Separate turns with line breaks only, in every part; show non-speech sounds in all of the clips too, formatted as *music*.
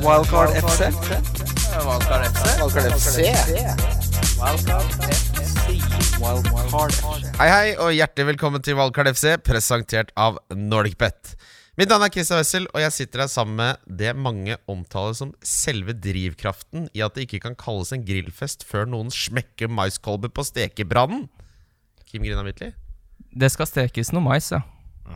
Wildcard FC.
Valkar FC.
Wildcard FC. Wildcard
Hei, hei, og hjertelig velkommen til Valgkart FC, presentert av NordicBet. Mitt navn er Christian Wessel, og jeg sitter her sammen med det mange omtaler som selve drivkraften i at det ikke kan kalles en grillfest før noen smekker maiskolber på stekebrannen. Kim Grina Midtli?
Det skal stekes noe mais, ja.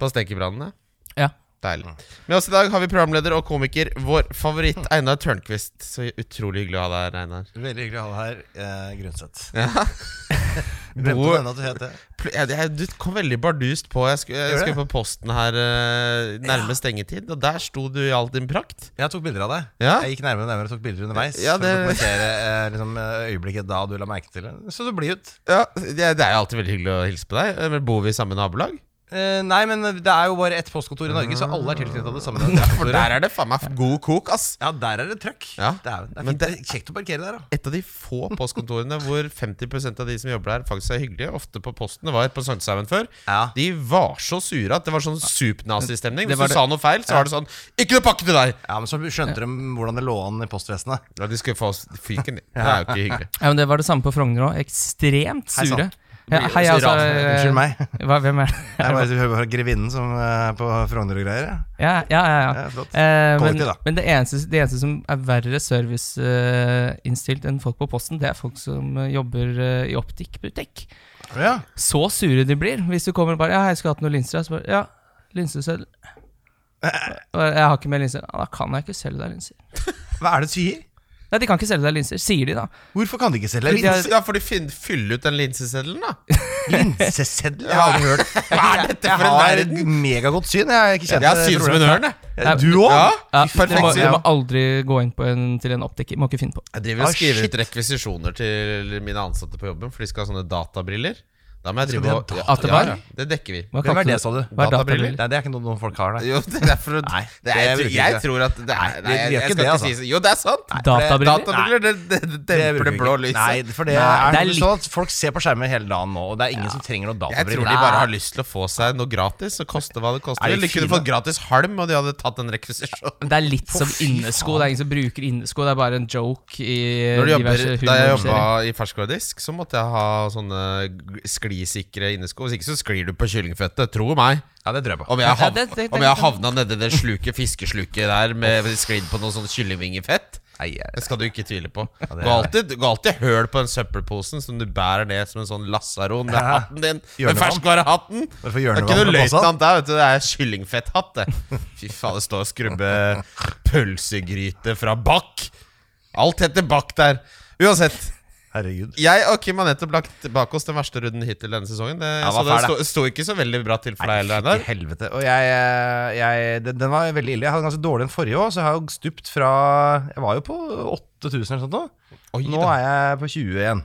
På stekebrannen,
Ja.
Deilig. Med oss i dag har vi programleder og komiker, vår favoritt Einar Tørnquist. Så utrolig hyggelig å ha deg her, Einar.
Veldig hyggelig å ha deg her, eh, Grundseth. *laughs* Glemte
Bo-
denne at du het det.
Pl- ja, det- jeg- Du kom veldig bardust på. Jeg skulle, jeg
Gjorde
skulle
det?
på Posten her eh, nærme stengetid, og der sto du i all din prakt.
Jeg tok bilder av deg.
Ja.
Jeg gikk nærmere og nærmere og tok bilder underveis.
Ja, det-
For å dokumentere eh, liksom, eh, øyeblikket da du la merke til det. Så så blid ut.
Ja, det, det er jo alltid veldig hyggelig å hilse på deg. Eh, Men Bor vi i samme nabolag?
Eh, nei, men det er jo bare ett postkontor i Norge, så alle er tilknyttet av det samme.
*laughs*
postkontoret.
For der er det faen meg god kok, ass!
Ja, der er det trøkk.
Ja.
Det er, det er
Men
fint. Det er kjekt å parkere der, da.
Et av de få postkontorene hvor 50 av de som jobber der, faktisk er hyggelige. Ofte på Posten. Det var på Sankthanshaugen før.
Ja.
De var så sure at det var sånn supernazistemning.
Det
Hvis
var
du
det-
sa noe feil, så var det sånn Ikke noe pakke til deg!
ja, men så skjønte de hvordan det lå an i postvesenet.
Ja, de skulle få oss fyken. Det er jo ikke hyggelig.
ja men det var det samme på Frogner òg. Ekstremt
Hei,
sure.
sant.
Ja, hei,
Så
altså.
rasende.
*laughs*
Unnskyld meg.
Hva, hvem er
Jeg bare hører bare grevinnen som eh, på Frogner og greier. ja.
Ja, ja, ja.
Ja,
ja.
flott.
Eh, men
Kollektiv, da.
men det, eneste, det eneste som er verre serviceinnstilt eh, enn folk på Posten, det er folk som eh, jobber eh, i optikkbutikk.
Ja.
Så sure de blir hvis du kommer og bare 'Ja, jeg skulle hatt noe linser.' Og så bare 'Ja, linseseddel.' Og Jeg har ikke mer linser. Ja, da kan jeg ikke selge deg linser.
Hva er det du sier?
Nei, de kan ikke selge deg linser, sier de da.
Hvorfor kan de ikke selge
Fordi de er-
linse-
*laughs* Ja, for de fin- fyller ut den linseseddelen, da.
linseseddel? Jeg har aldri hørt
*laughs* Hva er dette for en
Jeg
verden?
har megagodt syn. Jeg er ikke kjent
Jeg har syn som en ørn, jeg.
Ja, Du òg?
Ja.
Ja,
Perfekt,
du, må,
sier
du må
jeg.
aldri gå inn på en, til en optiker. Må ikke finne på det.
Jeg driver og
Ah,
skriver
shit.
ut rekvisisjoner til mine ansatte på jobben, for de skal ha sånne databriller. Da må jeg
Skal
drive
de
og
ha
databriller?
Det dekker vi.
Hva
Hvem
kalte
er det, sa du?
Hva er
Databriller?
databriller?
Nei, det er ikke noe noen folk har, nei.
Jo, det er for å
Nei,
det er, jeg,
det bruker
tror-
vi
jeg
ikke.
tror at det er, Nei,
vi
jeg,
gjør
jeg
ikke
skal
det,
ikke
altså.
si det. Jo, det er sant!
Databriller?
Databriller, det, det, det demper det
bruker vi
blå
ikke.
lyset.
Nei, for det
Nei,
er,
det er
noe
litt-
sånn at folk ser på skjermer hele dagen nå, og det er ingen som trenger noe
jeg tror
databriller.
de bare har lyst til å få seg noe gratis, og koste hva det koster.
Er de
Eller de kunne
fine?
fått gratis halm, og de hadde tatt en rekvisisjon.
Det er litt
Å,
som
fy
innesko. Det er ingen som bruker innesko. Det er bare en joke i
Eh,
Når du jobber,
diverse
da jeg jobba
humorserier.
i ferskvaredisk, så måtte jeg ha sånne g- sklisikre innesko. Hvis ikke så sklir du på kyllingfettet. Tro meg.
*laughs* Ja, det tror jeg på.
Om jeg,
Ja,
hav
det- det- det-
om jeg havna nedi det sluket, fiskesluket der med sklidd på noe sånn kyllingvingefett,
Nei, jeg-
det skal du ikke tvile på.
det
Gå alltid, gå alltid høl på den søppelposen som du bærer ned som en sånn lasaron. Det er
Ja.
hatten din.
Hjørnevann.
Med ferskvarehatten.
Bare
Det
for
er
hjørnevann
ikke noe
på posen.
løytnant der, vet du. Det er kyllingfetthatt,
*laughs*
det. Fy faen, det står og skrubber pølsegryte fra Bakk. Alt heter Bakk der. Uansett.
Herregud.
Jeg og Kim har nettopp lagt bak oss den verste runden hittil denne sesongen. Det, så
Ja, hva
det
fæl,
sto, sto ikke så veldig bra til for deg heller,
Nei,
Einar.
fy helvete. Og jeg, eh, jeg den, den var veldig ille. Jeg hadde ganske dårlig enn forrige år, så jeg har jo stupt fra Jeg var jo på 8000 eller sånt nå.
Oi
Nå
da.
er jeg på 20 igjen.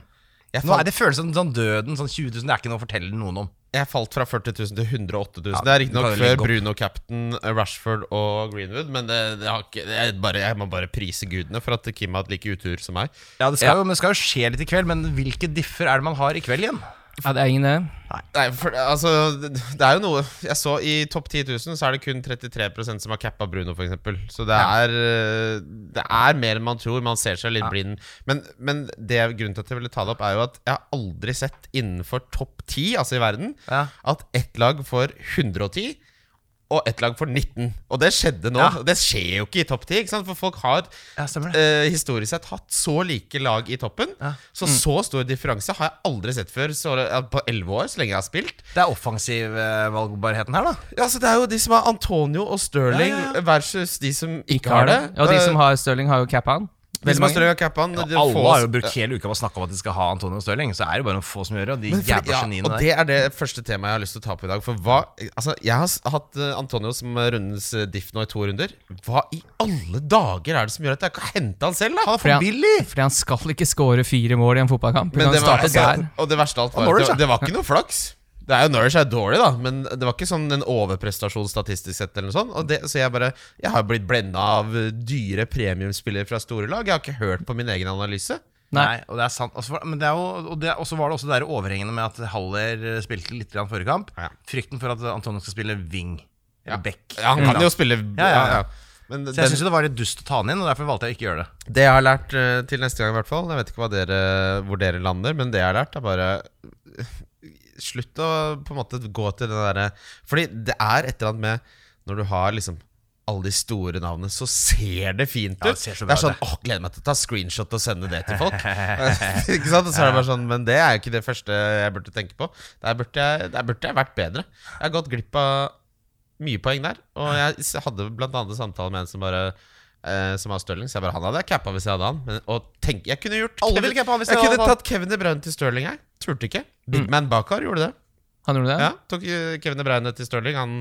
Jeg
Nå er det føles som sånn døden. Sånn 20 000, det er ikke noe å fortelle noen om.
Jeg falt fra 40 000 til 108 000.
Ja,
det er riktignok
du kan jo
før
legge opp.
Bruno Captain, eh, Rashford og Greenwood, men det, det har ikke, det er bare, jeg må bare prise gudene for at Kim har hatt like utur som meg.
Ja, det skal, Jo, men det skal jo skje litt i kveld, men hvilke differ er det man har i kveld igjen?
Ja, det er ingen det.
Nei, for, altså, det det er jo noe Jeg så i topp 10 000 så er det kun 33 som har cappa Bruno, f.eks. Så det er, eh, det er mer enn man tror. Man ser seg litt blind. Men, men det, grunnen til at jeg ville ta det opp, er jo at jeg har aldri sett innenfor topp 10 altså i verden
Ja.
at ett lag får 110. Og ett lag får 19. Og det skjedde nå.
Ja.
Det skjer jo ikke i topp 10. Ikke sant? For folk har
Ja, stemmer det.
eh, historisk sett hatt så like lag i toppen. Så så stor differanse har jeg aldri sett før så, ja, på elleve år, så lenge jeg har spilt.
Det er offensivvalgbarheten her, da.
Ja, så Det er jo de som har Antonio og Stirling
Ja, ja,
versus de som ikke,
Ikke har det. Og de som har Stirling, har jo cappa han.
de som har
Veldig mange.
Stirling og Cappan.
Ja, alle har jo brukt hele uka på å snakke om at de skal ha Antonio Stirling. Så er det bare noen få som gjør det, og de
fordi,
jævla
ja,
geniene
og
der.
det er det første temaet jeg har lyst til å ta på i dag. For hva, altså, Jeg har s- hatt eh, Antonio som eh, rundens eh, diff nå i to runder. Hva i alle dager er det som gjør at jeg kan hente han selv, da?
Han er for
Ja.
billig!
Fordi han skal ikke score fire mål i en fotballkamp.
Men
Men
det
han
var, altså,
starter der.
og det verste av alt
Og
var at
Norwich,
det, det var ikke noe flaks. Det er jo Norwich er dårlig, da, men det var ikke sånn en overprestasjon statistisk sett. eller noe sånt og det, Så jeg bare Jeg har blitt blenda av eh, dyre premiumspillere fra store lag. Jeg har ikke hørt på min egen analyse.
Nei.
Nei.
og det er sant. Altså, for- men det er jo, og det, og så var det også det der overhengende med at Haller eh, spilte litt grann forrige kamp.
Ja.
Frykten for at Antonio skal spille wing.
Ja.
Eller back.
Ja, han kan jo spille
Ja, ja, ja.
Men
Så jeg
den,
syns det var litt dust å ta den inn, og derfor valgte jeg ikke å gjøre det.
det jeg har lært eh, til neste gang, i hvert fall Jeg vet ikke hva dere, hvor dere lander, men det jeg har lært, er bare *laughs* Slutt å på en måte gå til den derre Fordi det er et eller annet med når du har liksom alle de store navnene, så ser det fint ut.
Ja,
det,
det ser så
er
bra
sånn åh, gleder meg til å ta screenshot og sende det
*laughs*
til folk. *laughs* ikke sant? Og så er det bare sånn Men det er jo ikke det første jeg burde tenke på. Der burde jeg, der burde jeg vært bedre. Jeg har gått glipp av mye poeng der. Og jeg s- hadde blant annet en samtale med en som bare eh, Som har Stirling. Så jeg bare Han hadde jeg cappa hvis jeg hadde han. Men, og tenk, jeg kunne gjort
Alle
Kevin-
ville cappa han hvis
Jeg
de hadde
kunne
han. Mm.
tatt Kevin De Bruyne til Stirling, jeg. Turte ikke. Big Man Bakar gjorde det.
Han gjorde det?
Ja, tok eh, Kevin De Bruyne til Stirling. Han,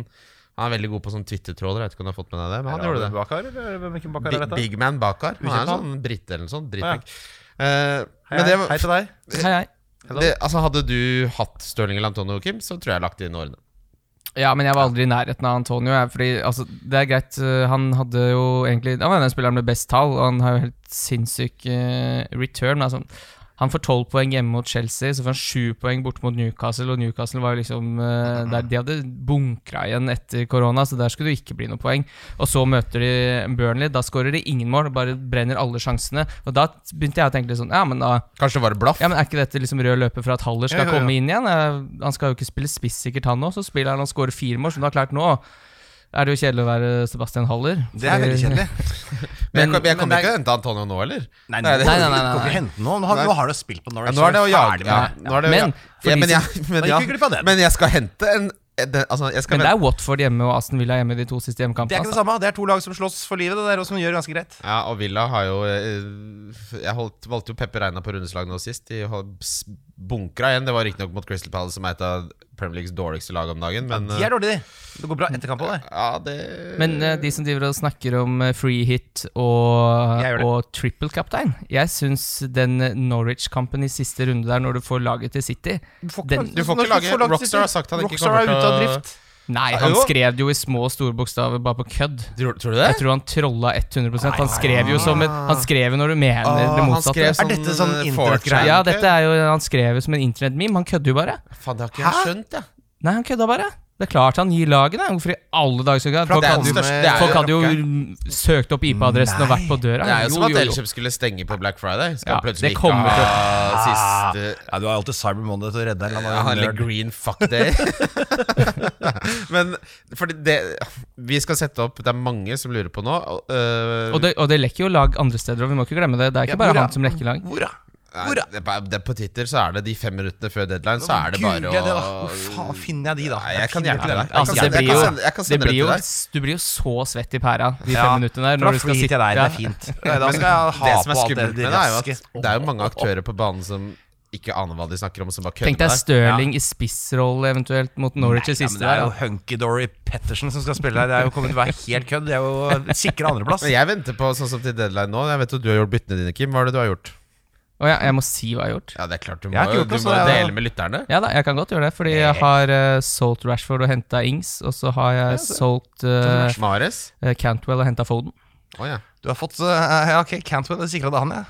han er veldig god på sånn Twitter-tråder. Jeg vet ikke om du har fått med deg det, men han gjorde det.
Bakar, eller hvem- hvilken Bakar er
Big,
dette?
Big Man Bakar. Han er
Ukjent
en sånn brite eller noe sånt.
Ah, ja.
Dritflink. Eh,
Hei,
men det
hei
var
til deg.
Hei, hei.
det, altså Hadde du hatt Stirling eller Antonio Kim, så tror jeg jeg lagt det inn i årene.
Ja, men jeg var aldri i nærheten av Antonio. Jeg, fordi, altså, det er greit, øh, han hadde jo egentlig Han var den spilleren med best tall, og han har jo helt sinnssyk øh, return. men Altså, han får tolv poeng hjemme mot Chelsea, så får han sju poeng borte mot Newcastle. Og Newcastle var jo liksom øh, der De hadde bunkra igjen etter korona, så der skulle det jo ikke bli noe poeng. Og så møter de Burnley, da skårer de ingen mål, bare brenner alle sjansene. Og da begynte jeg å tenke litt sånn Ja, men da
Kanskje det var blaff?
ja, men Er ikke dette liksom rød løper for at Haller skal
Ja, ja, ja.
komme inn igjen? Eh, Han skal jo ikke spille spiss sikkert, han nå. Så spiller han og scorer fire mål, som du har klart nå. Er det jo kjedelig å være Sebastian Haller?
Det er veldig
*laughs*
kjedelig.
Men, jeg kom- jeg
men
kommer
det
ikke til
er-
å hente Antonio nå, eller?
Nei,
Nei,
nei,
det-
nei, nei,
nei, nei,
Du kan
nei.
ikke hente noe. Nå, nå har du spilt på
Ja,
Norwich.
nå er det å
så
jage.
ferdig med
Ja,
det.
nå er det å
Men,
jage.
for
ja,
de
men,
som-
jeg, men,
Da
ja,
gikk vi glipp av den.
men jeg skal hente en den, altså, jeg skal
Men
vente.
det er Watford hjemme og Aston Villa hjemme de to siste altså.
Det er ikke
hjemmekampene.
det samme. Det er to lag som slåss for livet, det der, og som gjør ganske greit.
Ja, og Villa har jo eh, Jeg holdt, valgte jo Peppe Reina på rundeslag nå sist. De har s- bunkra igjen. Det var riktignok mot Crystal Palace, som er et av Premier Leagues dårligste lag om dagen, men
De er dårlige, de. Det går bra etter kamp òg, det.
eh, ja, det
sånn-
altså. Men eh, de som driver og snakker om eh, free hit og,
Jeg gjør det.
og triple captain Jeg syns den eh, Norwich-kampen i siste runde der, når du får laget til City den,
Du får ikke lage- Rockstar har sagt han ikke
Rockstar
kommer
er
til
ute av
å-
drift.
Nei, han
Jo.
skrev det jo i små store bokstaver bare på kødd.
tror, tror du det?
Jeg tror han trolla 100 Han skrev jo som et, Han skrev jo når du mener
Ah,
det
han skrev
motsatte.
sånn,
Er dette sånn
eh,
internettgreie?
4chan,
Ja,
ikke?
dette er jo Han skrev jo som en internettmeme. Han kødder jo bare.
Faen, det har ikke jeg skjønt, jeg.
Nei, han kødda bare. Det er klart han gir lagene. Hvorfor i alle dager skal
Det
folk,
er den
hadde jo-
største- det er
folk
jo
hadde jo
rocker.
søkt opp IP-adressen og vært på døra.
Det er jo som at
jo.
Elkjøp skulle stenge på Black Friday. Skal
Ja,
plutselig
det
ikke
kommer Ah.
ha siste
Ja, du har alltid Cyber Monday til å redde deg.
Ja, han legger green fuck day.
*laughs*
Men fordi det Vi skal sette opp Det er mange som lurer på nå. og, øh,
Og det, og det lekker jo lag andre steder, og vi må ikke glemme det. Det er ikke bare
hvor er-
han som lekker lag.
Hvor, da?
nei, det, er bare- det, er på Twitter så er det de fem minuttene før deadline, så er det bare
Google
å
det, da. Hvor faen finner jeg de, da?
Nei, jeg kan
finner
hjelpe
ikke
deg.
dem.
Jeg kan
Altså, det
sende- jeg
blir
kan
jo,
sende- jeg kan
det
sende det
blir jo,
til deg.
du blir jo så svett i pæra de fem
Ja,
minuttene der.
Fra
Når du skal
fly
sitte
til deg, det
ja.
er fint. Da skal jeg ha
Det som er
på alt det
skummelt med det,
de
er jo
raske.
at det er jo mange aktører på banen som ikke aner hva de snakker om, som bare kødder
Tenk
med
deg
deg.
Stirling i spissrolle eventuelt mot Norwich i
Ja, men
siste
det er
der.
jo Hunky-Dory Pettersen som skal spille her. Det er jo kommet til å være helt kødd. Det er jo
*laughs*
sikre andreplass.
Men jeg venter på sånn som til deadline nå. Jeg vet jo du har gjort byttene dine, Kim. Hva er det du har gjort?
Å ja, jeg må si hva jeg har gjort.
Ja, det er klart du må,
Jeg har ikke
jo-
gjort
du
det, så
må jo
jeg-
dele med lytterne.
Ja da, jeg kan godt gjøre det, fordi jeg har eh, solgt Rashford og henta Ings, og så har jeg solgt eh,
Mares?
eh, Cantwell og henta Foden.
Å ja.
Du har fått eh, Ja, ok, Cantwell sikra det han, ja.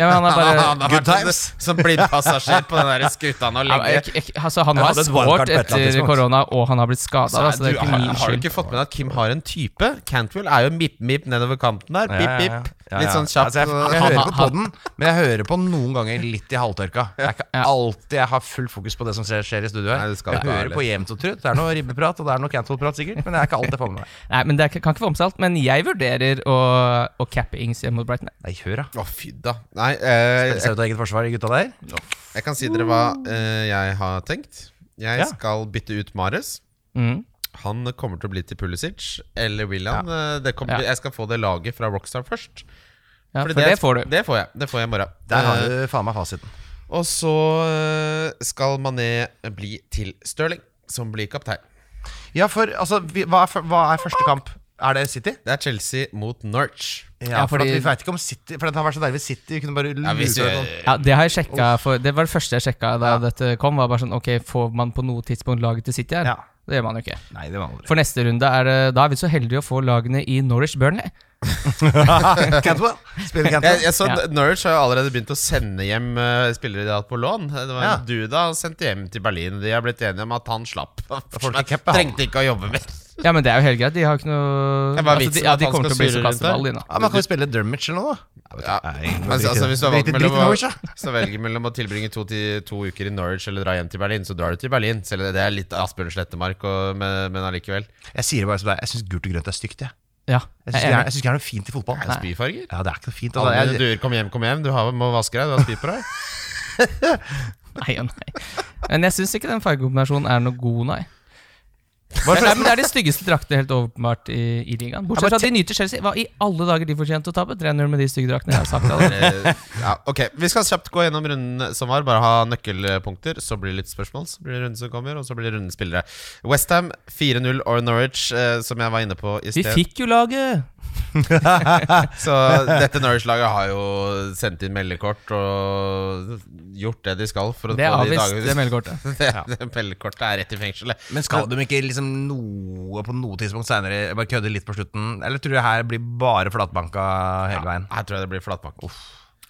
Ja, men han er
Han, *laughs*
bare
han har
Good
vært en-
times.
som blindpassasjer på den der skuta nå
ja, men
lenge.
jeg, jeg, altså, han
Jeg
har
hadde et wildcard
sport
på et eller annet
etter
tidspunkt.
korona, og han har blitt skada.
Nei,
Altså, det er
du,
ikke
har,
min
har du
skyld.
ikke fått med deg at Kim har en type? Cantwell er jo mipp-mipp nedover kanten der.
Ja, ja, ja.
Pip-pip.
Ja, ja.
Litt sånn kjapt.
Altså, jeg, jeg hører på podden, men jeg hører på noen ganger litt i halvtørka. Det er ikke
Ja.
alltid jeg har fullt fokus på det som skjer, skjer i studio
Nei,
her.
det skal
jeg
det være
hører på jevnt og trutt. Det er noe ribbeprat, og det er noe Cantwell-prat sikkert, men det er ikke alt jeg får med meg.
Nei, men det er, ikke- kan ikke få med seg alt. Men jeg vurderer å, å cappe Ings hjemme mot Brighton.
Nei, hør, da.
Å, fy da. Nei, eh, jeg,
Spiller seg ut av eget forsvar, de gutta der.
jeg kan si dere hva eh, jeg har tenkt. Jeg
Ja.
skal bytte ut Mares.
Mm.
Han kommer til å bli til Pulisic eller William. Eh, Det kommer,
Ja.
til- Jeg skal få det laget fra Rockstar først.
Ja,
Fordi
for det får du.
Det får jeg Det får jeg i morgen.
Der har
Eh,
du faen meg fasiten.
Og så eh, skal Mané bli til Stirling, som blir kaptein.
Ja, for altså, vi, hva, er, fø- hva er første kamp? Er det City?
Det er Chelsea mot Norwich.
Ja, for
fordi-
at vi vet ikke om City For det har vært så deilig ved City. Vi kunne bare luke
hvis
ut
vi-
noen.
Ja, det har jeg sjekket for, Det var det første jeg sjekka da dette kom. Var bare sånn, ok, Får man på noe tidspunkt laget til City her?
Ja.
Det gjør man jo ikke.
Nei, det var *laughs* aldri.
For neste runde er det Da er vi så heldige å få lagene i Norwich Burnley.
*laughs* Cantwell. Spiller
Jeg,
Cantwell.
jeg så at Norwich har jo allerede begynt å sende hjem eh, spillere de har hatt på lån. Det var
Ja.
en Duda han sendte hjem til Berlin. De har blitt enige om at han slapp. *laughs*
får du ikke cappe, han.
Trengte ikke å jobbe mer.
Ja, men det er jo helt greit. De har ikke noe
Det er bare
altså,
vitsen
de, ja,
at
de
han
kommer
skal
til å bli
styre rundt
så
der.
kasteball, de nå.
Ja, Man kan jo spille Dermage eller noe, da.
Ja.
Nei, nå
Men,
driter
altså,
jeg.
hvis du har
Drit-
valgt
drit i
mellom å,
Norwich, da.
hvis du velger mellom å tilbringe to, til, to uker i Norwich eller dra hjem til Berlin, så drar du til Berlin. Selv om det er litt Asbjørn Slettemark, og, men, men allikevel.
Jeg sier det bare som det er. Jeg syns gult og grønt er stygt. Jeg
Ja, jeg er
Jeg syns det, er-
enig.
jeg synes ikke det er noe fint i fotball.
Er det spyfarger?
Ja, det er ikke noe fint.
Alle
Altså.
mine
Jeg,
duer, kom hjem, kom hjem. Du har, må vaske deg, du har spy på deg.
Nei og nei. Men jeg syns ikke den fargekombinasjonen er noe god, nei.
Bare
Nei,
for-
men Det er de styggeste draktene helt åpenbart i, i ligaen. Bortsett fra at de nyter Chelsea. Hva i alle dager de fortjente å tape? 3-0 med de stygge draktene. Jeg har sagt allerede.
Eh, ja, ok, Vi skal kjapt gå gjennom runden som var. Bare ha nøkkelpunkter. Så blir det litt spørsmål, så blir det runden som kommer, og så blir det rundens spillere. Westham 4-0 or Norwich, eh, som jeg var inne på i
Vi
*laughs* sted.
fikk jo laget!
Så dette Norwich-laget har jo sendt inn meldekort og gjort det de skal. For å
Det er
få de
avvist,
dagene-
det meldekortet.
*laughs* Det, det meldekortet er rett i fengselet.
men skal de ikke liksom noe på noe tidspunkt seinere bare kødde litt på slutten? Eller tror du her blir bare flatbanka hele veien?
Her tror jeg det blir flatbank.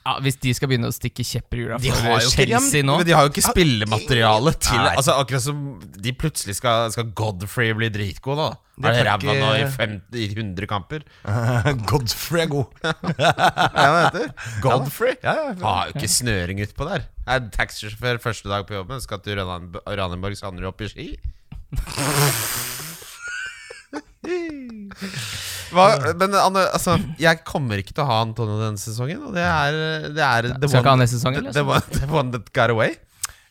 Ja, Hvis de skal begynne å stikke kjepper i hjula
De har
for
jo ikke, ja,
Chelsea
men,
nå Ah,
men de har jo ikke spillemateriale til
Nei.
Altså Akkurat som de plutselig skal, skal Godfrey bli dritgod, da.
Det
Er det
får
ræva
ikke-
nå i, fem, i 100 kamper?
*laughs* Godfrey er *laughs* god.
Hva er det heter? Godfrey?
Ja, ja, ja.
Har jo ikke snøring utpå der. Er det taxisjåfør første dag på jobben, skal til Ranan- Ranenborg, så handler du opp i ski. Hva, men Anne, altså, jeg kommer ikke til å ha Antonio denne sesongen. Og det er, det er the,
Skal ikke ha
one,
neste liksom? sesong,
the,
eller?
the, one, the one that got away.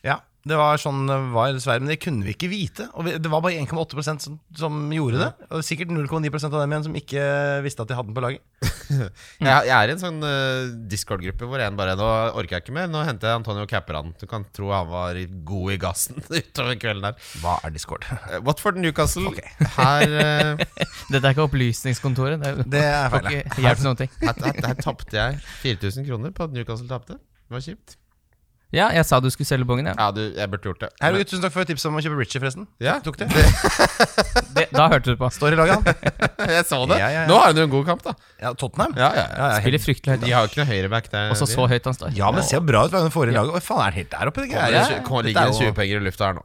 Ja, det var sånn det var dessverre, men det kunne vi ikke vite. Og vi- det var bare 1,8 som, som gjorde det. Og sikkert 0,9 av dem igjen som ikke visste at de hadde den på laget.
*laughs* Jeg, jeg er i en sånn eh, Discord-gruppe hvor en bare Nå orker jeg ikke mer. Nå henter jeg Antonio Capperan. Du kan tro han var god i gassen *laughs* utover kvelden der.
Hva er Discord?
Eh, Watford Newcastle. *laughs* Her, eh,
Dette er ikke Opplysningskontoret. Det er jo
*laughs* Det er
får
feil. ja.
ikke hjelp til noen ting.
her, her, her tapte jeg 4000 kroner på at Newcastle tapte. Det var kjipt.
Ja, jeg sa du skulle selge bongen, ja.
Ja, du, jeg burde gjort det.
Herregud, Tusen takk for tipset om å kjøpe Richie, forresten.
Ja. *laughs*
Tok det.
Det, da hørte du på.
Står i laget, han.
Jeg så det.
Ja, ja, ja.
Nå har han jo en god kamp, da.
Ja, Tottenham.
Ja, ja, ja.
Ja, ja, helt-
Spiller fryktelig høyt.
De
da.
har jo ikke noe høyreback der.
Også så høyt han står.
ja men det ser bra ut hva han får i laget. Hva faen er han helt der oppe? Det
Ja,
greier.
det
Ja,
er- kommer-
dette er
ligger en
jo-
20 penger i lufta her nå.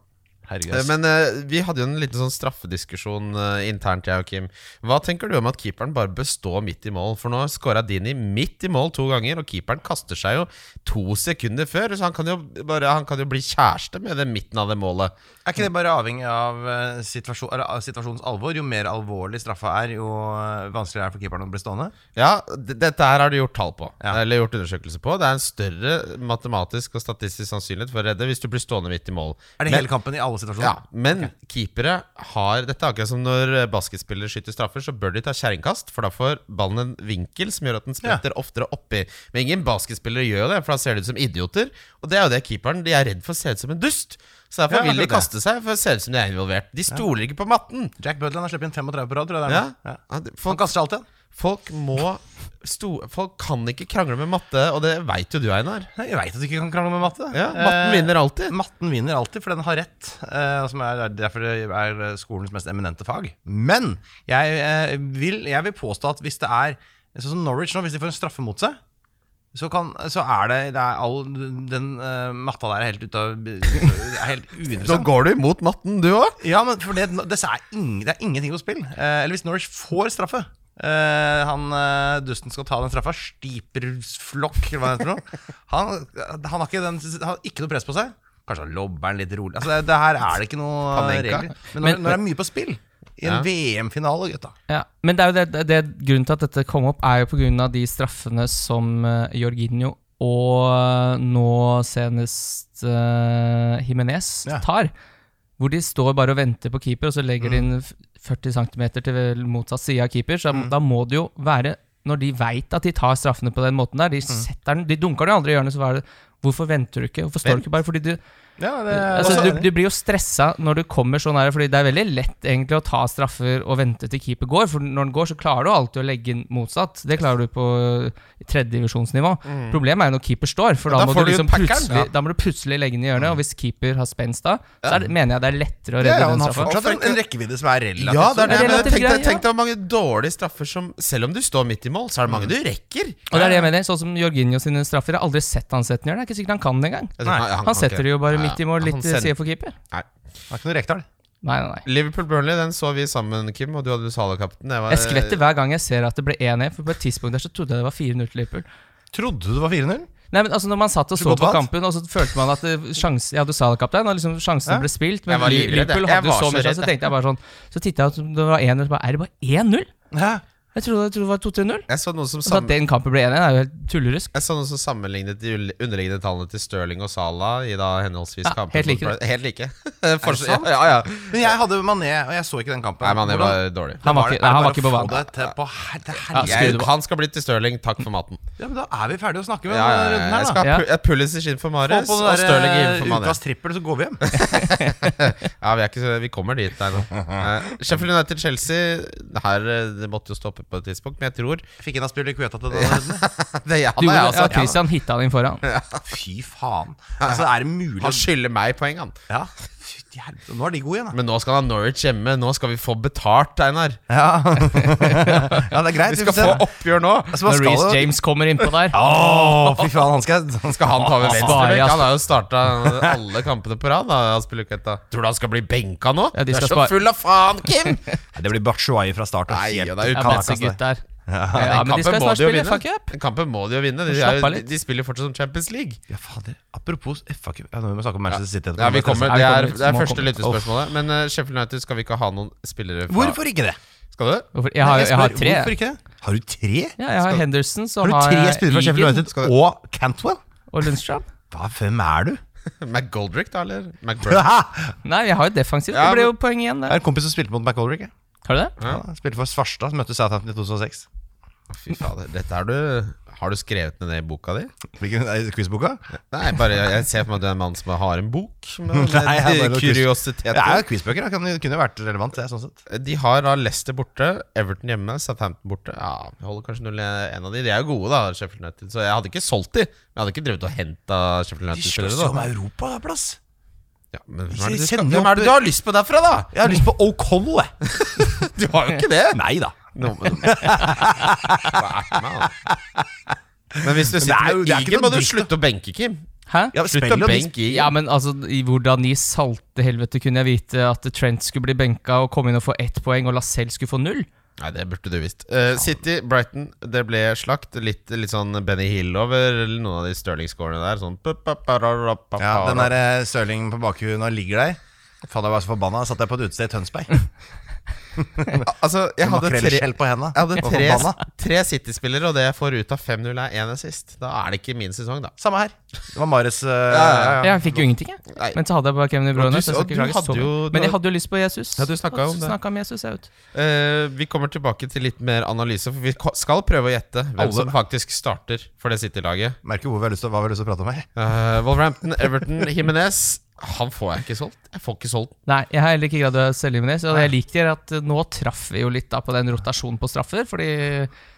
Herregud,
Eh,
ass.
Men eh, vi hadde jo en liten sånn straffediskusjon eh, internt, jeg og Kim. Hva tenker du om at keeperen bare bør stå midt i mål? For nå scora Dini midt i mål to ganger, og keeperen kaster seg jo to sekunder før. Så han kan jo, bare, han kan jo bli kjæreste med den midten av det målet.
Er ikke det bare avhengig av eh, situasjon, eller, av situasjonens alvor? Jo mer alvorlig straffa er, jo eh, vanskeligere er det for keeperen å bli stående.
Ja, d- dette her har du gjort tall på.
Ja.
Eller gjort undersøkelse på. Det er en større matematisk og statistisk sannsynlighet for å redde hvis du blir stående midt i mål.
Er det
Men-
hele kampen i alle situasjoner?
Ja, men keepere har Dette er akkurat som når eh, basketspillere skyter straffer, så bør de ta kjerringkast, for da får ballen en vinkel som gjør at den spretter oftere oppi. Men ingen basketspillere gjør det, for da ser de ut som idioter. Og det er jo det keeperen De er redd for å se ut som en dust. Så derfor
Ja,
vil de
akkurat
kaste seg, for det ser ut som de er involvert. De stoler ikke på matten.
Jack Bødland har sluppet inn 35 på rad, tror jeg. det
Ja.
er nå. Ja.
Ja, det-
Han
Folk,
kaster seg alltid igjen.
folk må sto, Folk kan ikke krangle med matte, og det veit jo du, Einar.
Nei, Jeg veit at du ikke kan krangle med matte.
Ja, matten vinner alltid.
Eh, matten vinner alltid, for den har rett. eh, og som er det er derfor det er eh, skolens mest eminente fag. Men jeg, eh, vil, jeg vil påstå at hvis det er sånn som Norwich nå, hvis de får en straffe mot seg så, kan, så er det, det er all, Den eh, matta der er helt ute av er
*laughs*
helt
Nå
uinteressant.
går du imot matten, du òg.
Ja, men for det, det, er ing, det er ingenting på spill. Eh, eller hvis Norwich får straffe eh, Han eh, dusten skal ta den straffa. Stiperflokk, eller hva det heter. for noe. Han, han, har ikke den, han har ikke noe press på seg. Kanskje han lobber den litt rolig. Altså, det, det her er det ikke noe
Panenka.
regler. Men når,
Men-
når det er mye på spill i
Ja.
en VM-finale, gutta
Ja, men det er jo det, det, det grunnen til at dette kom opp, er jo pga. de straffene som eh, Jorginho og eh, nå senest eh, Jimenez
Ja.
tar. Hvor de står bare og venter på keeper, og så legger de inn f- 40 cm til vel motsatt side av keeper. Så da må det jo være Når de veit at de tar straffene på den måten der, de, setter den, de dunker den i andre hjørnet, så hva er det Hvorfor venter du ikke? Hvorfor står du ikke bare? Fordi du, altså, du, du blir jo stressa når du kommer sånn her, Fordi det er veldig lett egentlig å ta straffer og vente til keeper går. For når den går, så klarer du alltid å legge den motsatt. Det klarer du på tredjedivisjonsnivå. Problemet er jo når keeper står, for da,
Da
må
får
du
du
liksom
packeren,
plutselig,
ja.
da må du plutselig legge den i hjørnet. Og hvis keeper har spenst da, så er det, mener jeg det er lettere å redde
ja, han
den
har
straffa.
fortsatt en, en rekkevidde som er relativt
Ja, det er
stor.
det,
Det er
men
relativt
tenk, deg-
greit, ja.
tenk deg hvor mange dårlige straffer som Selv om du står midt i mål, så er det mange du rekker.
Mm. Og det er det jeg mener. Sånn som Jorginho sine straffer. Jeg har aldri sett han sette den i hjørnet. Det er ikke sikkert han kan det engang.
Jeg tror
Nei,
ikke-
Han setter det jo bare midt i mål,
Han
litt til
sender-
side for keeper.
Nei.
Det er ikke noe rektall.
Nei, nei, nei.
Liverpool-Burnley den så vi sammen, Kim, og du hadde Sala-kapten. Jeg var-
Jeg skvetter hver gang jeg ser at det ble 1-1, for på et tidspunkt der så trodde jeg det var 4-0 til Liverpool.
Trodde du det var 4-0?
Nei, men altså Når man satt og
Så
så
godt
på
valgt.
kampen, og så følte man at eh, sjans, Jeg hadde Salah-kaptein, og liksom sjansene
Ja.
ble spilt,
Jeg
men
var livredd, jeg.
Liverpool
Jeg
hadde
var
så
så
mye
redd,
sjanser. Så
jeg.
tenkte jeg bare sånn Så tittet jeg at det var 1-0, så bare Er det bare 1-0?
Ja.
Jeg trodde jeg trodde det var 2-3-0.
Jeg så noen som
Så at
sammen...
den kampen ble 1-1, er jo helt tullerusk.
Jeg så noen som sammenlignet de ul- underliggende tallene til Stirling og Salah i da henholdsvis
Ja,
kampen
helt like
mot-
det.
Helt like. *laughs* Forskjell-
sant?
Ja, ja.
Men jeg hadde Mané, og jeg så ikke den kampen.
Nei, men det
Hvordan-
var dårlig.
Han var ikke,
er
nei, han
bare
var ikke på
å få
banen.
det til på her- det her-
Ja,
jeg-
Jeg, han skal bli til Stirling. Takk for maten.
ja, men Da er vi ferdige å snakke med
Ja, ja, ja.
denne
Jeg
runden her, da.
skal
Ja.
ha pu- Pulisic inn for
Få
Mares
på
og
den
Stirling
der
inn for
eh,
Mané.
ukas trippel, så går vi hjem.
*laughs* Ja, vi, er ikke, så- vi kommer dit der nå. Eh, Sheffield United-Chelsea Her eh, det måtte jo stoppe på et tidspunkt, men jeg *laughs* tror
Jeg *laughs* Fikk en Aspjørn Kveta til denne runden.
det,
Du,
han, er,
ja,
altså,
Christian hitta den inn foran.
Fy faen. Altså, er det mulig
han
å
skylder meg poeng, han.
Ja, fytti helvete. Nå er de gode igjen, da.
Men nå skal han ha Norwich hjemme. Nå skal vi få betalt, Einar.
*laughs* Ja, ja det er greit.
Vi skal få oppgjør nå.
Altså, man
Når
skal
Reece
jo-
James kommer innpå der.
Å, fy faen, han skal, han skal
Skal han ta over
Spare,
venstrebekk?
ass.
Han har jo starta *laughs* alle kampene på rad. da, Aspeluketta. altså. Tror du han skal bli benka nå?
Ja, de
du er
skal
så
spare-
full av faen,
*laughs*
Kim!
Nei, Det blir Batshuayi fra start. og
Nei,
helt-
ja, det er
Ja,
jo
Kanakas,
Betzy gutt der.
Den
Ja, men de
kampen må
skal snart
de jo
spille,
vinne.
fuck up.
Den kampen må de jo vinne. De, er,
Slapp av
jo-
litt.
de spiller fortsatt som Champions League.
Ja, fader. Apropos FAQ ja, nå må Vi snakke om Manchester City etterpå.
Ja, vi kommer,
Ja,
det
vi
er,
kommer dit.
det er
Må
første
komme dit.
lyttespørsmålet. Men eh, Sheffield United skal vi ikke ha noen spillere fra
Hvorfor ikke det?
Skal du? *laughs*
Hvorfor- Jeg har, jeg har tre.
Hvorfor ikke det? Har du tre?
Ja, jeg har Henderson, så
Har du
har
tre
jeg
spillere fra Sheffield
Egan
United og Cantwell?
og Lundstrøm.
Hva, hvem er du?
McGoldrick, da, eller?
*laughs*
McBurn.
Det
Nei, jeg har jo defensivt.
Ja,
Det ble
men-
jo poeng igjen,
er
det.
en kompis som spilte mot McColdrick. jeg.
Har du det?
Ja.
Ja, han spilte for Svarstad, som møtte Southampton i 2006.
Fy fader, dette er du Har du skrevet ned det i boka di?
Hvilken er quizboka?
Nei, bare jeg, jeg ser for meg at du er en mann som har en bok med
*laughs* Nei, jeg har bare noen quiz-
kuriositeter.
Det er jo quizbøker. da. Kan, kunne jo vært relevant, det, sånn sett.
De har da Leicester borte, Everton hjemme, Southampton borte. Ja, vi holder kanskje 0-1 av de. De er jo gode, da, Sheffield United. Så jeg hadde ikke solgt de. Men jeg hadde ikke drevet og henta Sheffield United-spillere. da
europaplass.
ja, men hvem
De
er, det du skal,
sender jo
hvem er det du har lyst på derfra,
*laughs*
da?
Jeg har lyst på O'Connell, jeg.
Du har jo *laughs* ikke det!
Nei da.
Nå, men, Hva er det med han? men hvis du
det er
sitter
jo-
med
det er ikke
Egan, må
noe
du
dritt,
slutte å benke, Kim.
Hæ?
Ja,
Slutt å
spiller de-
benke
Ja,
Egan.
men altså, i hvordan i salte helvete kunne jeg vite at Trent skulle bli benka og komme inn og få ett poeng, og Lascelles skulle få null?
Nei, det burde du visst. Eh, City, Brighton, det ble slakt. Litt, litt sånn Benny Hill over eller noen av de Stirling-scorene der. Sånn
Ja,
Ja,
den der eh, Stirling på bakhjulet når han ligger der. Faen, jeg var så forbanna. Satt jeg på et utested i Tønsberg.
Altså, jeg *laughs* hadde tre
Makrellskjell på henda.
Jeg hadde
Og
tre,
forbanna.
tre City-spillere, og det jeg får ut av 5-0 er én assist. Da er det ikke min sesong, da.
Samme her. Det var Mares eh,
ja,
Jeg fikk jo ingenting, jeg.
Nei.
Men så hadde jeg bare Kevin De Bruyne.
Og du-
så jeg skal
og
ikke
du
klage
hadde
så mye.
jo-
Men jeg hadde jo lyst på Jesus.
Ja, du snakket jo om det.
Snakka om Jesus, jeg, vet du.
Eh, vi kommer tilbake til litt mer analyse, for vi ko- skal prøve å gjette hvem
Alle.
som faktisk starter for det City-laget.
Merker hvor vi har lyst til, hva vi har lyst til å prate om her.
Eh, Wolverhampton, Everton, Jimenez Han får jeg ikke solgt. Jeg får ikke solgt
Nei, jeg har heller ikke greid å selge Jimenez. Og jeg liker at eh, nå traff vi jo litt da på den rotasjonen på straffer, fordi